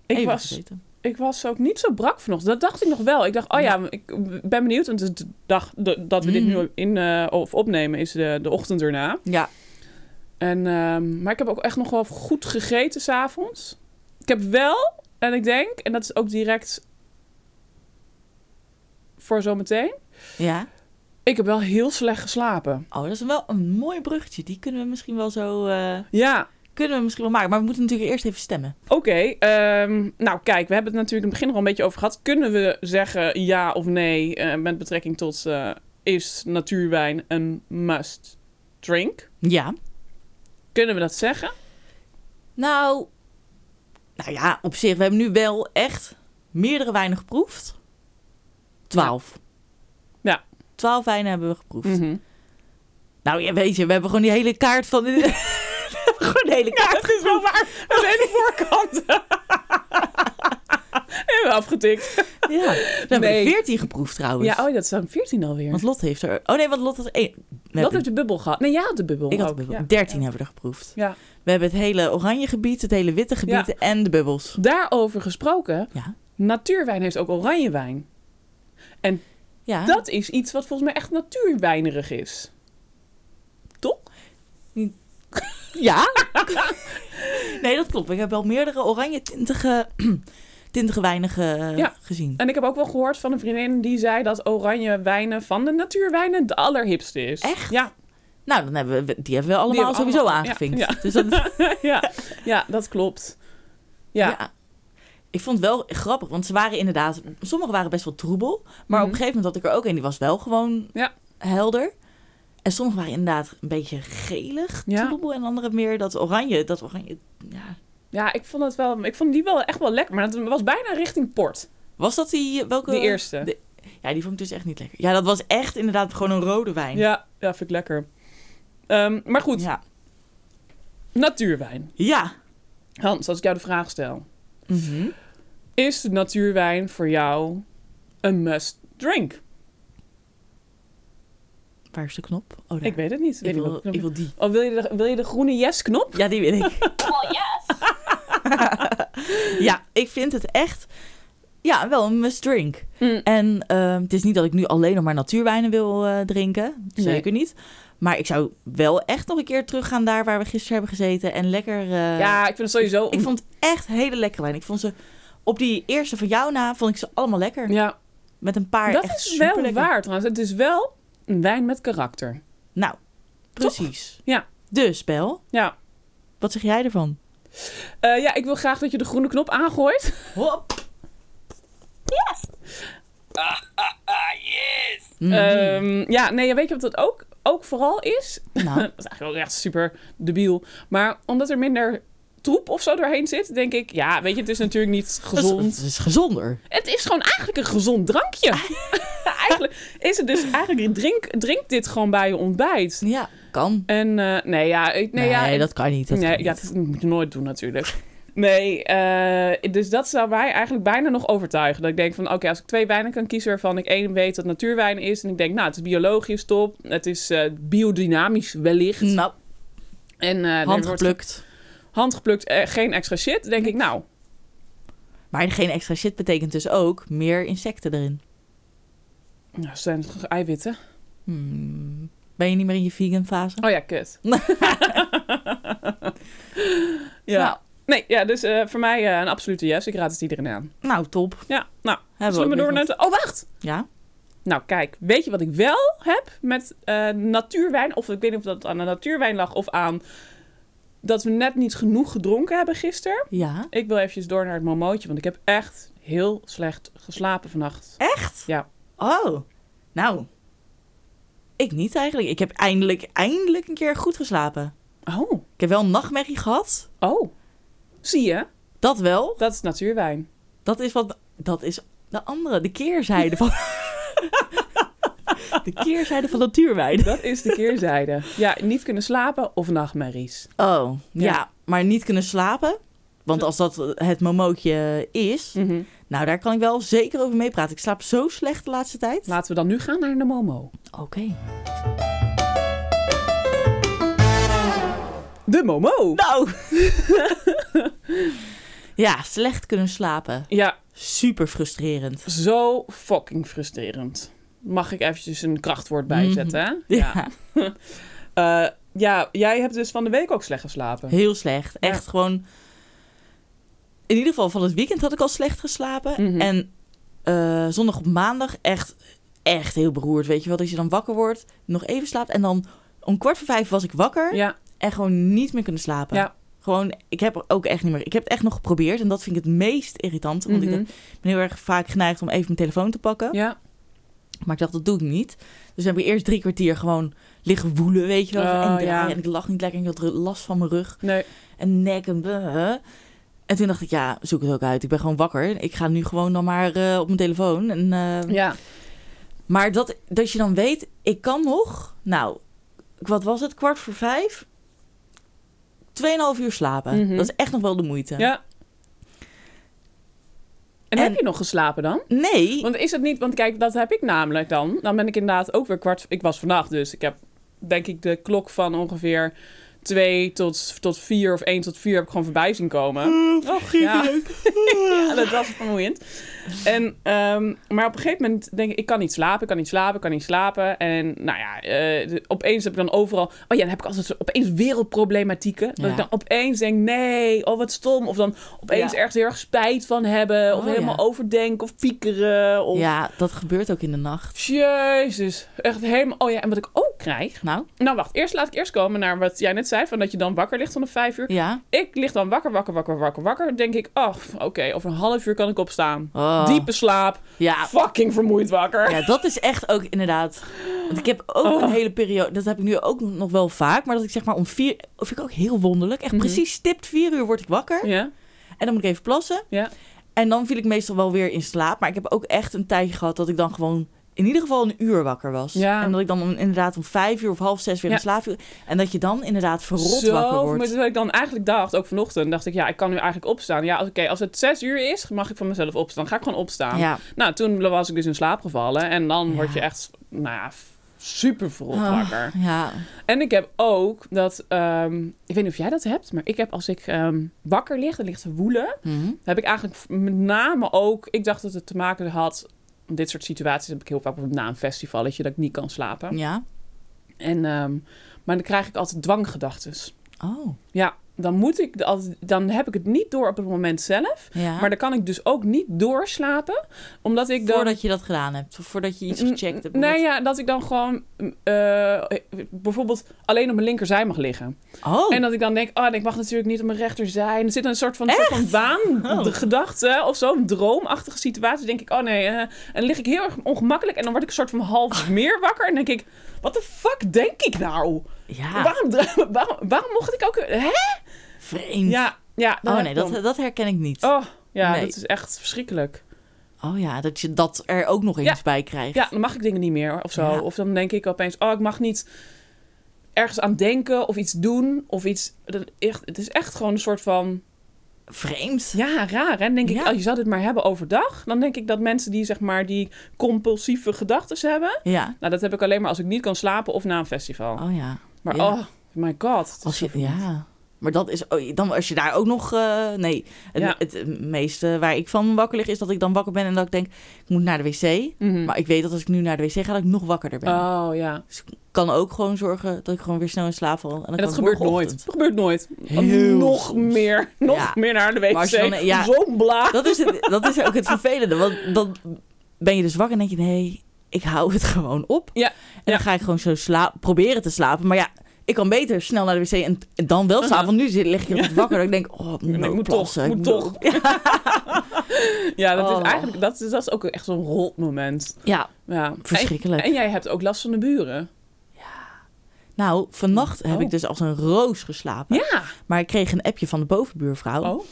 Speaker 4: ik
Speaker 1: Even
Speaker 4: was,
Speaker 1: gezeten.
Speaker 4: ik was ook niet zo brak vanochtend. Dat dacht ik nog wel. Ik dacht, oh ja, ik ben benieuwd. Want de dag de- dat we dit
Speaker 1: Mhm.
Speaker 4: nu in, eh, of opnemen is de, de ochtend erna.
Speaker 1: Ja,
Speaker 4: En, ehm, maar ik heb ook echt nog wel goed gegeten s'avonds. Ik heb wel, en ik denk, en dat is ook direct voor zometeen.
Speaker 1: ja.
Speaker 4: Ik heb wel heel slecht geslapen.
Speaker 1: Oh, dat is wel een mooi bruggetje. Die kunnen we misschien wel zo... eh,
Speaker 4: Ja,
Speaker 1: kunnen we misschien wel maken. Maar we moeten natuurlijk eerst even stemmen.
Speaker 4: oké. ehm, nou, kijk, we hebben het natuurlijk in het begin nog wel een beetje over gehad. Kunnen we zeggen ja of nee eh, met betrekking tot eh, is natuurwijn een must drink?
Speaker 1: Ja.
Speaker 4: Kunnen we dat zeggen?
Speaker 1: Nou, nou ja, op zich. We hebben nu wel echt meerdere wijnen geproefd. Twaalf.
Speaker 4: Ja.
Speaker 1: Twaalf wijnen hebben we geproefd.
Speaker 4: Mhm.
Speaker 1: Nou, ja, weet je, we hebben gewoon die hele kaart van... we hebben gewoon de hele
Speaker 4: Ja,
Speaker 1: kaart
Speaker 4: dat is wel waar. Aan de hele voorkant. Hebben we afgetikt.
Speaker 1: Ja. We hebben
Speaker 4: Nee.
Speaker 1: er 14 geproefd trouwens.
Speaker 4: Ja, oh, dat staat 14 alweer.
Speaker 1: Want Lot heeft er... Oh nee, want Lot had één... We
Speaker 4: dat
Speaker 1: hebben-
Speaker 4: heeft de bubbel gehad. Nee, jij had de bubbel
Speaker 1: ik had de
Speaker 4: ook,
Speaker 1: bubbel.
Speaker 4: ja.
Speaker 1: 13 hebben we er geproefd.
Speaker 4: Ja.
Speaker 1: We hebben het hele oranje gebied, het hele witte gebied en de bubbels.
Speaker 4: Daarover gesproken,
Speaker 1: Ja.
Speaker 4: natuurwijn heeft ook oranjewijn.
Speaker 1: Ja.
Speaker 4: Dat is iets wat volgens mij echt natuurwijnerig is.
Speaker 1: Ja. nee, dat klopt. Ik heb wel meerdere oranje tintige, tintige wijnen eh,
Speaker 4: Ja.
Speaker 1: gezien.
Speaker 4: En ik heb ook wel gehoord van een vriendin die zei dat oranje wijnen van de natuurwijnen de allerhipste is.
Speaker 1: Echt?
Speaker 4: Ja.
Speaker 1: Nou, dan hebben we, die hebben we allemaal
Speaker 4: hebben we
Speaker 1: sowieso
Speaker 4: allemaal, ja,
Speaker 1: aangevinkt.
Speaker 4: ja.
Speaker 1: Dus dat,
Speaker 4: ja. ja, dat klopt. Ja.
Speaker 1: ja. Ik vond het wel grappig, want ze waren inderdaad... Sommige waren best wel troebel. Maar op een
Speaker 4: Mhm.
Speaker 1: gegeven moment had ik er ook een, die was wel gewoon
Speaker 4: Ja.
Speaker 1: helder. En sommige waren inderdaad een beetje gelig,
Speaker 4: Ja.
Speaker 1: troebel. En andere meer dat oranje, dat oranje... Ja.
Speaker 4: Ja, ik vond, het wel, ik vond die wel echt wel lekker, maar het was bijna richting port.
Speaker 1: Was dat die... Welke...
Speaker 4: De eerste.
Speaker 1: eh, de- Ja, die vond ik dus echt niet lekker. Ja, dat was echt inderdaad gewoon een rode wijn.
Speaker 4: Ja, ja, vind ik lekker. Ehm, maar goed,
Speaker 1: Ja.
Speaker 4: natuurwijn.
Speaker 1: Ja.
Speaker 4: Hans, als ik jou de vraag stel.
Speaker 1: Mhm.
Speaker 4: Is de natuurwijn voor jou een must drink?
Speaker 1: Waar is de knop? Oh, daar.
Speaker 4: Ik weet het niet.
Speaker 1: Ik
Speaker 4: Weet
Speaker 1: wil,
Speaker 4: niet wat-
Speaker 1: ik wil die.
Speaker 4: Oh, wil je de, wil je de groene yes-knop?
Speaker 1: Ja, die wil ik. Well, yes. ja, ik vind het echt... Ja, wel een must drink. En ehm, het is niet dat ik nu alleen nog maar natuurwijnen wil eh, drinken.
Speaker 4: Nee.
Speaker 1: Zeker niet. Maar ik zou wel echt nog een keer teruggaan daar waar we gisteren hebben gezeten. En lekker... eh,
Speaker 4: ja, ik vind het sowieso...
Speaker 1: Ik vond echt hele lekkere wijn. Ik vond ze... Op die eerste van jou na vond ik ze allemaal lekker.
Speaker 4: ja,
Speaker 1: Met een paar
Speaker 4: dat
Speaker 1: echt
Speaker 4: is wel
Speaker 1: superlekker.
Speaker 4: waar trouwens. Het is wel een wijn met karakter.
Speaker 1: Nou, precies.
Speaker 4: Ja.
Speaker 1: Dus, Bel,
Speaker 4: Ja.
Speaker 1: wat zeg jij ervan?
Speaker 4: Eh, ja, ik wil graag dat je de groene knop aangooit.
Speaker 1: Hop.
Speaker 4: Ah,
Speaker 1: Yes!
Speaker 4: Ehm, ja, nee, weet je wat dat ook, ook vooral is?
Speaker 1: nou,
Speaker 4: dat is eigenlijk ook echt super debiel. Maar omdat er minder troep of zo doorheen zit, denk ik... Ja, weet je, het is natuurlijk niet gezond.
Speaker 1: Het is gezonder.
Speaker 4: Het is gewoon eigenlijk een gezond drankje. eigenlijk is het dus eigenlijk... Drink, drink dit gewoon bij je ontbijt.
Speaker 1: Ja, kan.
Speaker 4: En eh, nee, ja, ik, nee,
Speaker 1: Nee,
Speaker 4: ja, ik-
Speaker 1: dat kan niet. Dat
Speaker 4: nee,
Speaker 1: kan
Speaker 4: ja,
Speaker 1: niet.
Speaker 4: dat moet je nooit doen natuurlijk. Nee, eh, dus dat zou mij eigenlijk bijna nog overtuigen. Dat ik denk van, oké, als ik twee wijnen kan kiezen waarvan ik één weet dat natuurwijn is. En ik denk, nou, het is biologisch top. Het is eh, biodynamisch wellicht.
Speaker 1: Nou,
Speaker 4: en eh, er wordt
Speaker 1: handgeplukt.
Speaker 4: handgeplukt, eh, geen extra shit. Dan denk ik, nou,
Speaker 1: Maar geen extra shit betekent dus ook meer insecten erin.
Speaker 4: nou, het zijn toch eiwitten.
Speaker 1: Hmm. Ben je niet meer in je vegan fase?
Speaker 4: Oh ja, kut. ja.
Speaker 1: Nou,
Speaker 4: Nee, ja, dus eh, voor mij eh, een absolute yes. Ik raad het iedereen aan.
Speaker 1: nou, top.
Speaker 4: Ja, nou,
Speaker 1: Hebben
Speaker 4: zullen we
Speaker 1: ook
Speaker 4: door
Speaker 1: weer
Speaker 4: naar...
Speaker 1: wat.
Speaker 4: het- Oh, wacht!
Speaker 1: Ja?
Speaker 4: Nou, kijk, weet je wat ik wel heb met eh, natuurwijn? Of ik weet niet of dat aan de natuurwijn lag of aan dat we net niet genoeg gedronken hebben gisteren.
Speaker 1: Ja.
Speaker 4: Ik wil eventjes door naar het momootje, want ik heb echt heel slecht geslapen vannacht.
Speaker 1: Echt?
Speaker 4: Ja.
Speaker 1: Oh. Nou. Ik niet eigenlijk. Ik heb eindelijk, eindelijk een keer goed geslapen.
Speaker 4: Oh,
Speaker 1: Ik heb wel een nachtmerrie gehad.
Speaker 4: oh. Zie je?
Speaker 1: Dat wel.
Speaker 4: Dat is natuurwijn.
Speaker 1: Dat is wat. Dat is de andere, de keerzijde van. de keerzijde van natuurwijn.
Speaker 4: Dat is de keerzijde. Ja, niet kunnen slapen of nachtmerries.
Speaker 1: Oh, ja.
Speaker 4: Ja.
Speaker 1: Maar niet kunnen slapen. Want als dat het momootje is.
Speaker 4: Mhm.
Speaker 1: Nou, daar kan ik wel zeker over meepraten. Ik slaap zo slecht de laatste tijd.
Speaker 4: Laten we dan nu gaan naar de momo.
Speaker 1: Nou, Oké.
Speaker 4: De momo!
Speaker 1: Nou. ja, slecht kunnen slapen.
Speaker 4: Ja,
Speaker 1: Super frustrerend.
Speaker 4: zo fucking frustrerend. Mag ik eventjes een krachtwoord bijzetten? hè?
Speaker 1: Ja.
Speaker 4: Eh, ja, jij hebt dus van de week ook slecht geslapen.
Speaker 1: Heel slecht.
Speaker 4: Ja.
Speaker 1: Echt gewoon. In ieder geval van het weekend had ik al slecht geslapen.
Speaker 4: Mhm.
Speaker 1: En eh, zondag op maandag echt, echt heel beroerd. Weet je wel, dat je dan wakker wordt, nog even slaapt. En dan om kwart voor vijf was ik wakker
Speaker 4: Ja,
Speaker 1: en gewoon niet meer kunnen slapen.
Speaker 4: Ja.
Speaker 1: Gewoon, ik heb er ook echt niet meer. Ik heb het echt nog geprobeerd en dat vind ik het meest irritant. Want
Speaker 4: Mhm.
Speaker 1: ik ben heel erg vaak geneigd om even mijn telefoon te pakken.
Speaker 4: ja.
Speaker 1: Maar ik dacht, dat doe ik niet. Dus heb ik eerst drie kwartier gewoon liggen woelen, weet je wel.
Speaker 4: Oh,
Speaker 1: en draaien.
Speaker 4: ja.
Speaker 1: En ik lag niet lekker en ik had last van mijn rug
Speaker 4: Nee,
Speaker 1: en nek en bleh. En toen dacht ik, ja, zoek het ook uit. Ik ben gewoon wakker. Ik ga nu gewoon dan maar eh, op mijn telefoon. En, eh,
Speaker 4: ja.
Speaker 1: Maar dat, dat je dan weet, ik kan nog... Nou, wat was het? Kwart voor vijf? Tweeënhalf uur slapen.
Speaker 4: Mhm.
Speaker 1: Dat is echt nog wel de moeite.
Speaker 4: Ja, En,
Speaker 1: En-
Speaker 4: heb je nog geslapen dan?
Speaker 1: Nee.
Speaker 4: Want is dat niet, want kijk, dat heb ik namelijk dan. Dan ben ik inderdaad ook weer kwart. Ik was vannacht, dus ik heb denk ik de klok van ongeveer 2 tot, tot 4 of 1 tot 4 heb ik gewoon voorbij zien komen.
Speaker 1: oh,
Speaker 4: Ja. ja, Nou, dat was vermoeiend. En, ehm, maar op een gegeven moment denk ik, ik kan niet slapen, ik kan niet slapen, ik kan niet slapen. En nou ja, eh, de- opeens heb ik dan overal... Oh ja, dan heb ik altijd zo- opeens wereldproblematieken. Dat
Speaker 1: Ja.
Speaker 4: ik dan opeens denk, nee, oh wat stom. Of dan opeens
Speaker 1: Ja.
Speaker 4: ergens heel erg spijt van hebben. Of
Speaker 1: Oh,
Speaker 4: helemaal
Speaker 1: ja.
Speaker 4: overdenken of piekeren. Of,
Speaker 1: Ja, dat gebeurt ook in de nacht.
Speaker 4: Jezus, echt helemaal... Oh ja, en wat ik ook krijg...
Speaker 1: Nou,
Speaker 4: Nou wacht, eerst laat ik eerst komen naar wat jij net zei... van dat je dan wakker ligt van de vijf uur.
Speaker 1: ja.
Speaker 4: Ik lig dan wakker, wakker, wakker, wakker, wakker. Dan Denk ik, oh, oké, over een half uur kan ik opstaan.
Speaker 1: Oh.
Speaker 4: Diepe slaap,
Speaker 1: Ja,
Speaker 4: fucking vermoeid wakker.
Speaker 1: Ja, dat is echt ook inderdaad. Want ik heb ook
Speaker 4: Oh.
Speaker 1: een hele periode, dat heb ik nu ook nog wel vaak, maar dat ik zeg maar om vier, of vind ik ook heel wonderlijk. Echt
Speaker 4: Mhm.
Speaker 1: precies stipt vier uur word ik wakker
Speaker 4: Ja,
Speaker 1: en dan moet ik even plassen.
Speaker 4: ja.
Speaker 1: En dan viel ik meestal wel weer in slaap, maar ik heb ook echt een tijdje gehad dat ik dan gewoon in ieder geval een uur wakker was.
Speaker 4: Ja.
Speaker 1: En dat ik dan om- inderdaad om vijf uur of half zes weer
Speaker 4: Ja.
Speaker 1: in slaap viel. En dat je dan inderdaad verrot wakker
Speaker 4: Zo, maar
Speaker 1: wordt.
Speaker 4: dat ik dan eigenlijk dacht, ook vanochtend, dacht ik, ja, ik kan nu eigenlijk opstaan. Ja, oké, als het zes uur is, mag ik van mezelf opstaan. Dan ga ik gewoon opstaan.
Speaker 1: Ja.
Speaker 4: Nou, toen was ik dus in slaap gevallen en dan word je
Speaker 1: Ja.
Speaker 4: echt, nou ja, f- super verrot
Speaker 1: Ah,
Speaker 4: wakker.
Speaker 1: Ja.
Speaker 4: En ik heb ook dat, ehm, ik weet niet of jij dat hebt, maar ik heb als ik ehm, wakker lig, dan ligt te woelen.
Speaker 1: Mhm.
Speaker 4: heb ik eigenlijk v- met name ook... Ik dacht dat het te maken had... Dit soort situaties heb ik heel vaak bijvoorbeeld na een festivalletje... dat ik niet kan slapen.
Speaker 1: Ja.
Speaker 4: En, ehm, maar dan krijg ik altijd dwanggedachtes.
Speaker 1: Oh.
Speaker 4: Ja, dan, moet ik de- altijd, dan heb ik het niet door op het moment zelf.
Speaker 1: Ja.
Speaker 4: Maar dan kan ik dus ook niet doorslapen. Omdat ik dan...
Speaker 1: Voordat je dat gedaan hebt, of voordat je iets gecheckt hebt.
Speaker 4: Nou ja, dat ik dan gewoon eh, bijvoorbeeld alleen op mijn linkerzij mag liggen.
Speaker 1: Oh.
Speaker 4: En dat ik dan denk, oh, en ik mag natuurlijk niet op mijn rechter zijn. Er zit een soort van, soort van waangedachte
Speaker 1: Oh.
Speaker 4: of zo, een droomachtige situatie. denk ik, oh nee, eh, en dan lig ik heel erg ongemakkelijk. En dan word ik een soort van
Speaker 1: Ah.
Speaker 4: half meer wakker. En denk ik, wat de fuck denk ik nou?
Speaker 1: ja.
Speaker 4: Waarom, dra- waarom, waarom mocht ik ook... Hè?
Speaker 1: Vreemd.
Speaker 4: Ja, ja.
Speaker 1: Oh
Speaker 4: heb
Speaker 1: nee,
Speaker 4: ik
Speaker 1: dat,
Speaker 4: dan.
Speaker 1: dat herken ik niet.
Speaker 4: Oh, ja,
Speaker 1: Nee.
Speaker 4: dat is echt verschrikkelijk.
Speaker 1: Oh ja, dat je dat er ook nog eens bij krijgt.
Speaker 4: Ja, dan mag ik dingen niet meer of zo.
Speaker 1: Ja.
Speaker 4: Of dan denk ik opeens, oh, ik mag niet ergens aan denken of iets doen of iets. Dat, echt, het is echt gewoon een soort van
Speaker 1: Vreemd.
Speaker 4: Ja, raar. hè? Dan denk ik,
Speaker 1: Ja.
Speaker 4: als je zou dit maar hebben overdag. Dan denk ik dat mensen die zeg maar die compulsieve gedachten hebben.
Speaker 1: Ja.
Speaker 4: Nou, dat heb ik alleen maar als ik niet kan slapen of na een festival.
Speaker 1: Oh ja.
Speaker 4: maar
Speaker 1: ja.
Speaker 4: oh my god. het is
Speaker 1: Als
Speaker 4: zo
Speaker 1: je,
Speaker 4: vermoeiend.
Speaker 1: ja. Maar dat is, oh, dan als je daar ook nog, eh, nee. Het,
Speaker 4: Ja.
Speaker 1: het meeste waar ik van wakker lig is dat ik dan wakker ben en dat ik denk, ik moet naar de wc.
Speaker 4: Mhm.
Speaker 1: Maar ik weet dat als ik nu naar de wc ga, dat ik nog wakkerder ben.
Speaker 4: Oh ja. En
Speaker 1: Dus ik kan ook gewoon zorgen dat ik gewoon weer snel in slaap val. En, dan kan
Speaker 4: dat
Speaker 1: ik
Speaker 4: gebeurt nooit.
Speaker 1: morgenochtend.
Speaker 4: Dat gebeurt nooit.
Speaker 1: Heel
Speaker 4: nog
Speaker 1: soms.
Speaker 4: meer. Nog
Speaker 1: Ja.
Speaker 4: meer naar de
Speaker 1: Maar
Speaker 4: wc.
Speaker 1: als je dan- eh, ja.
Speaker 4: Zo'n blaad.
Speaker 1: Dat is, het, dat is ook het vervelende. Want dan ben je dus wakker en denk je... nee, ik hou het gewoon op.
Speaker 4: Ja,
Speaker 1: En
Speaker 4: ja.
Speaker 1: dan ga ik gewoon zo sla- proberen te slapen. Maar ja, ik kan beter snel naar de wc en, en dan wel slapen. Want nu zit- lig ik
Speaker 4: Ja.
Speaker 1: ja. wakker en ik denk... oh, ik moet,
Speaker 4: Ik
Speaker 1: ook
Speaker 4: moet
Speaker 1: plassen.
Speaker 4: toch,
Speaker 1: Ik
Speaker 4: moet
Speaker 1: moet
Speaker 4: toch.
Speaker 1: ook-
Speaker 4: Ja, dat is
Speaker 1: Oh.
Speaker 4: eigenlijk dat is, dat is ook echt zo'n rotmoment.
Speaker 1: Ja,
Speaker 4: Ja.
Speaker 1: verschrikkelijk.
Speaker 4: En, en jij hebt ook last van de buren.
Speaker 1: Nou, vannacht heb
Speaker 4: Oh.
Speaker 1: ik dus als een roos geslapen.
Speaker 4: Ja.
Speaker 1: Maar ik kreeg een appje van de bovenbuurvrouw.
Speaker 4: Oh.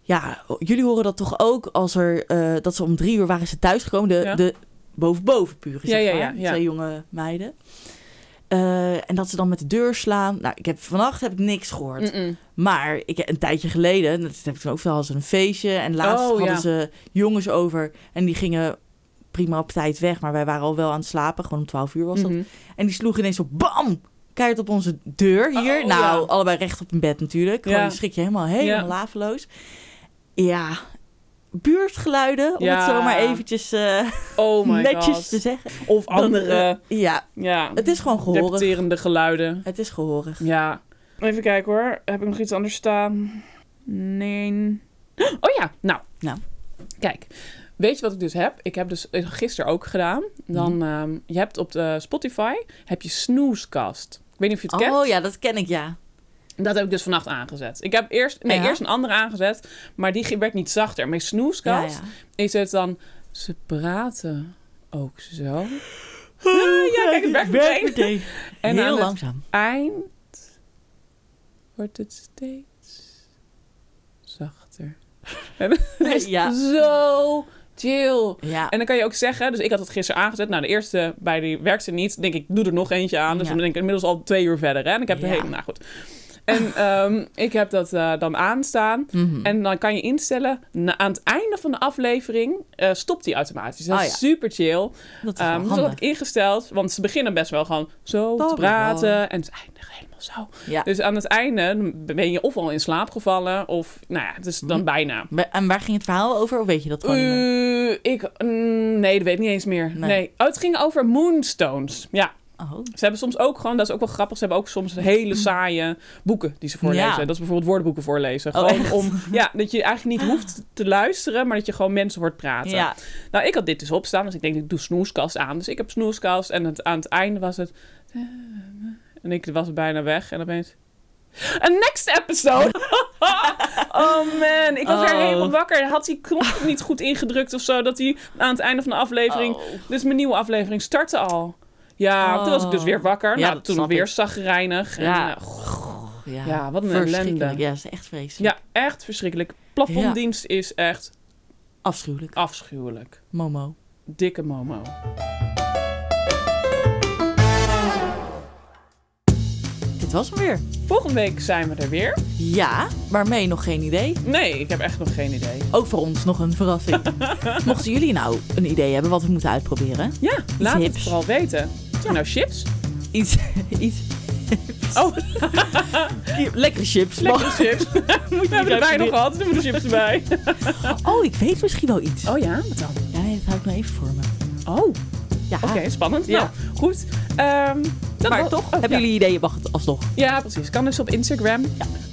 Speaker 1: Ja, jullie horen dat toch ook als er... eh, dat ze om drie uur waren ze thuisgekomen. De,
Speaker 4: Ja.
Speaker 1: de boven-bovenburen,
Speaker 4: Ja,
Speaker 1: zeg
Speaker 4: ja,
Speaker 1: maar.
Speaker 4: ja, ja.
Speaker 1: Twee jonge meiden. Eh, en dat ze dan met de deur slaan. Nou, ik heb, vannacht heb ik niks gehoord.
Speaker 4: Mm-mm.
Speaker 1: Maar ik, een tijdje geleden, dat heb ik toen ook veel, hadden ze een feestje. En laatst
Speaker 4: Oh, ja.
Speaker 1: hadden ze jongens over. En die gingen prima op tijd weg. Maar wij waren al wel aan het slapen. Gewoon om 12 uur was dat.
Speaker 4: Mhm.
Speaker 1: En die sloegen ineens op bam! Keihard op onze deur hier.
Speaker 4: Oh,
Speaker 1: nou,
Speaker 4: ja.
Speaker 1: allebei recht op een bed natuurlijk. Gewoon
Speaker 4: Ja.
Speaker 1: je schrik je helemaal helemaal
Speaker 4: Ja.
Speaker 1: laveloos. Ja, buurtgeluiden, om
Speaker 4: Ja.
Speaker 1: het zo maar eventjes eh,
Speaker 4: Oh my
Speaker 1: netjes
Speaker 4: god.
Speaker 1: te zeggen.
Speaker 4: Of
Speaker 1: Dat,
Speaker 4: andere.
Speaker 1: eh, ja,
Speaker 4: Ja.
Speaker 1: het is gewoon gehorig.
Speaker 4: Repeterende geluiden.
Speaker 1: Het is gehorig.
Speaker 4: Ja. Even kijken hoor. Heb ik nog iets anders staan? Nee. Oh ja, nou.
Speaker 1: Nou.
Speaker 4: Kijk. Weet je wat ik dus heb? Ik heb dus gisteren ook gedaan. Dan,
Speaker 1: Mhm.
Speaker 4: ehm, je hebt op de Spotify, heb je Snoozecast. Ik weet niet of je het kent.
Speaker 1: Oh ja, dat ken ik ja.
Speaker 4: Dat heb ik dus vannacht aangezet. Ik heb eerst, nee,
Speaker 1: Ja.
Speaker 4: eerst een andere aangezet, maar die werd niet zachter. Mijn
Speaker 1: ja,
Speaker 4: Snoozecast
Speaker 1: ja.
Speaker 4: is het dan, ze praten ook zo.
Speaker 1: ja,
Speaker 4: kijk, het werkt meteen.
Speaker 1: En
Speaker 4: En aan
Speaker 1: Heel
Speaker 4: het-
Speaker 1: langzaam.
Speaker 4: eind wordt het steeds zachter. En het is
Speaker 1: Ja.
Speaker 4: zo chill.
Speaker 1: Ja.
Speaker 4: En dan kan je ook zeggen, dus ik had het gisteren aangezet. Nou, de eerste bij die werkte niet. Denk ik, doe er nog eentje aan. Dus
Speaker 1: Ja.
Speaker 4: dan ben ik inmiddels al twee uur verder. Hè? En ik heb de
Speaker 1: Ja.
Speaker 4: hele, nou goed. En ehm, ik heb dat eh, dan aanstaan.
Speaker 1: Mhm.
Speaker 4: En dan kan je instellen, na- aan het einde van de aflevering eh, stopt die automatisch. Dat
Speaker 1: Oh
Speaker 4: is
Speaker 1: ja.
Speaker 4: super chill.
Speaker 1: dat is wel
Speaker 4: Ehm dus dat had
Speaker 1: handig.
Speaker 4: ik ingesteld, want ze beginnen best wel gewoon zo te
Speaker 1: Blablabla.
Speaker 4: praten. En ze eindigen helemaal zo.
Speaker 1: Ja.
Speaker 4: Dus aan het einde dan ben je of al in slaap gevallen, of nou ja, dus dan
Speaker 1: Hm.
Speaker 4: bijna.
Speaker 1: Maar- En waar ging het verhaal over? Of weet je dat gewoon niet meer?
Speaker 4: Eh, ik, mm, nee, dat weet ik niet eens meer. Nee.
Speaker 1: Nee.
Speaker 4: Oh, het ging over moonstones. Ja,
Speaker 1: Oh.
Speaker 4: ze hebben soms ook gewoon, dat is ook wel grappig, ze hebben ook soms hele saaie boeken die ze voorlezen.
Speaker 1: Ja.
Speaker 4: Dat is bijvoorbeeld woordenboeken voorlezen.
Speaker 1: Oh,
Speaker 4: Gewoon
Speaker 1: echt?
Speaker 4: om, ja, dat je eigenlijk niet hoeft te luisteren, maar dat je gewoon mensen hoort praten.
Speaker 1: Ja.
Speaker 4: Nou, ik had dit dus opstaan, dus ik denk, ik doe snoeskast aan. Dus ik heb snoeskast en het, aan het einde was het... eh, En ik was bijna weg en opeens... Een next episode! oh man, ik was weer
Speaker 1: Oh.
Speaker 4: helemaal wakker. Had die knop niet goed ingedrukt of zo, dat hij aan het einde van de aflevering...
Speaker 1: Oh.
Speaker 4: Dus mijn nieuwe aflevering startte al. Ja,
Speaker 1: Oh.
Speaker 4: toen was ik dus weer wakker.
Speaker 1: Ja,
Speaker 4: nou,
Speaker 1: dat
Speaker 4: toen
Speaker 1: snap
Speaker 4: weer
Speaker 1: ik.
Speaker 4: zagrijnig.
Speaker 1: Ja.
Speaker 4: En, eh, goh,
Speaker 1: Goh, ja.
Speaker 4: Ja, wat een
Speaker 1: Verschrikkelijk.
Speaker 4: ellende.
Speaker 1: Ja, dat is echt vreselijk.
Speaker 4: ja, echt verschrikkelijk. Plafonddienst is echt
Speaker 1: Afschuwelijk.
Speaker 4: afschuwelijk.
Speaker 1: Momo.
Speaker 4: Dikke Momo.
Speaker 1: Dit was hem weer.
Speaker 4: Volgende week zijn we er weer.
Speaker 1: Ja, waarmee nog geen idee.
Speaker 4: Nee, ik heb echt nog geen idee.
Speaker 1: Ook voor ons nog een verrassing. Mochten jullie nou een idee hebben wat we moeten uitproberen?
Speaker 4: Ja, laat het
Speaker 1: hips.
Speaker 4: vooral weten. Zijn nou chips?
Speaker 1: Iets, iets
Speaker 4: Oh,
Speaker 1: lekkere chips.
Speaker 4: lekkere chips. we hebben erbij nog gehad, doen we de chips erbij.
Speaker 1: Oh, ik weet misschien wel iets.
Speaker 4: Oh ja, wat dan?
Speaker 1: Ja, dat hou ik nou even voor me.
Speaker 4: Oh, oké,
Speaker 1: Ja,
Speaker 4: spannend.
Speaker 1: Ah. Ja.
Speaker 4: Nou, goed. Ehm, dat
Speaker 1: maar
Speaker 4: was-
Speaker 1: toch,
Speaker 4: oh,
Speaker 1: hebben
Speaker 4: ja.
Speaker 1: jullie ideeën? Wacht, alsnog.
Speaker 4: Ja, precies. Kan dus op Instagram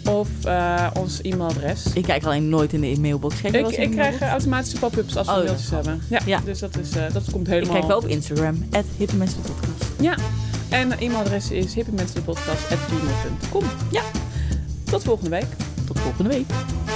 Speaker 4: of eh, ons e-mailadres.
Speaker 1: Ik kijk alleen nooit in de mailbox. Kijk je
Speaker 4: Ik,
Speaker 1: wel eens in
Speaker 4: ik
Speaker 1: de
Speaker 4: krijg
Speaker 1: mailbox?
Speaker 4: eh, automatische pop-ups als we
Speaker 1: Oh, ja.
Speaker 4: mailtjes hebben. Ja,
Speaker 1: Ja.
Speaker 4: dus dat, is, eh, dat komt
Speaker 1: Ik
Speaker 4: helemaal...
Speaker 1: kijk wel op Instagram, at podcast.
Speaker 4: Ja, en het e-mailadres is hippemensenpodcast.gmail.com. Ja, tot volgende week.
Speaker 1: Tot volgende week.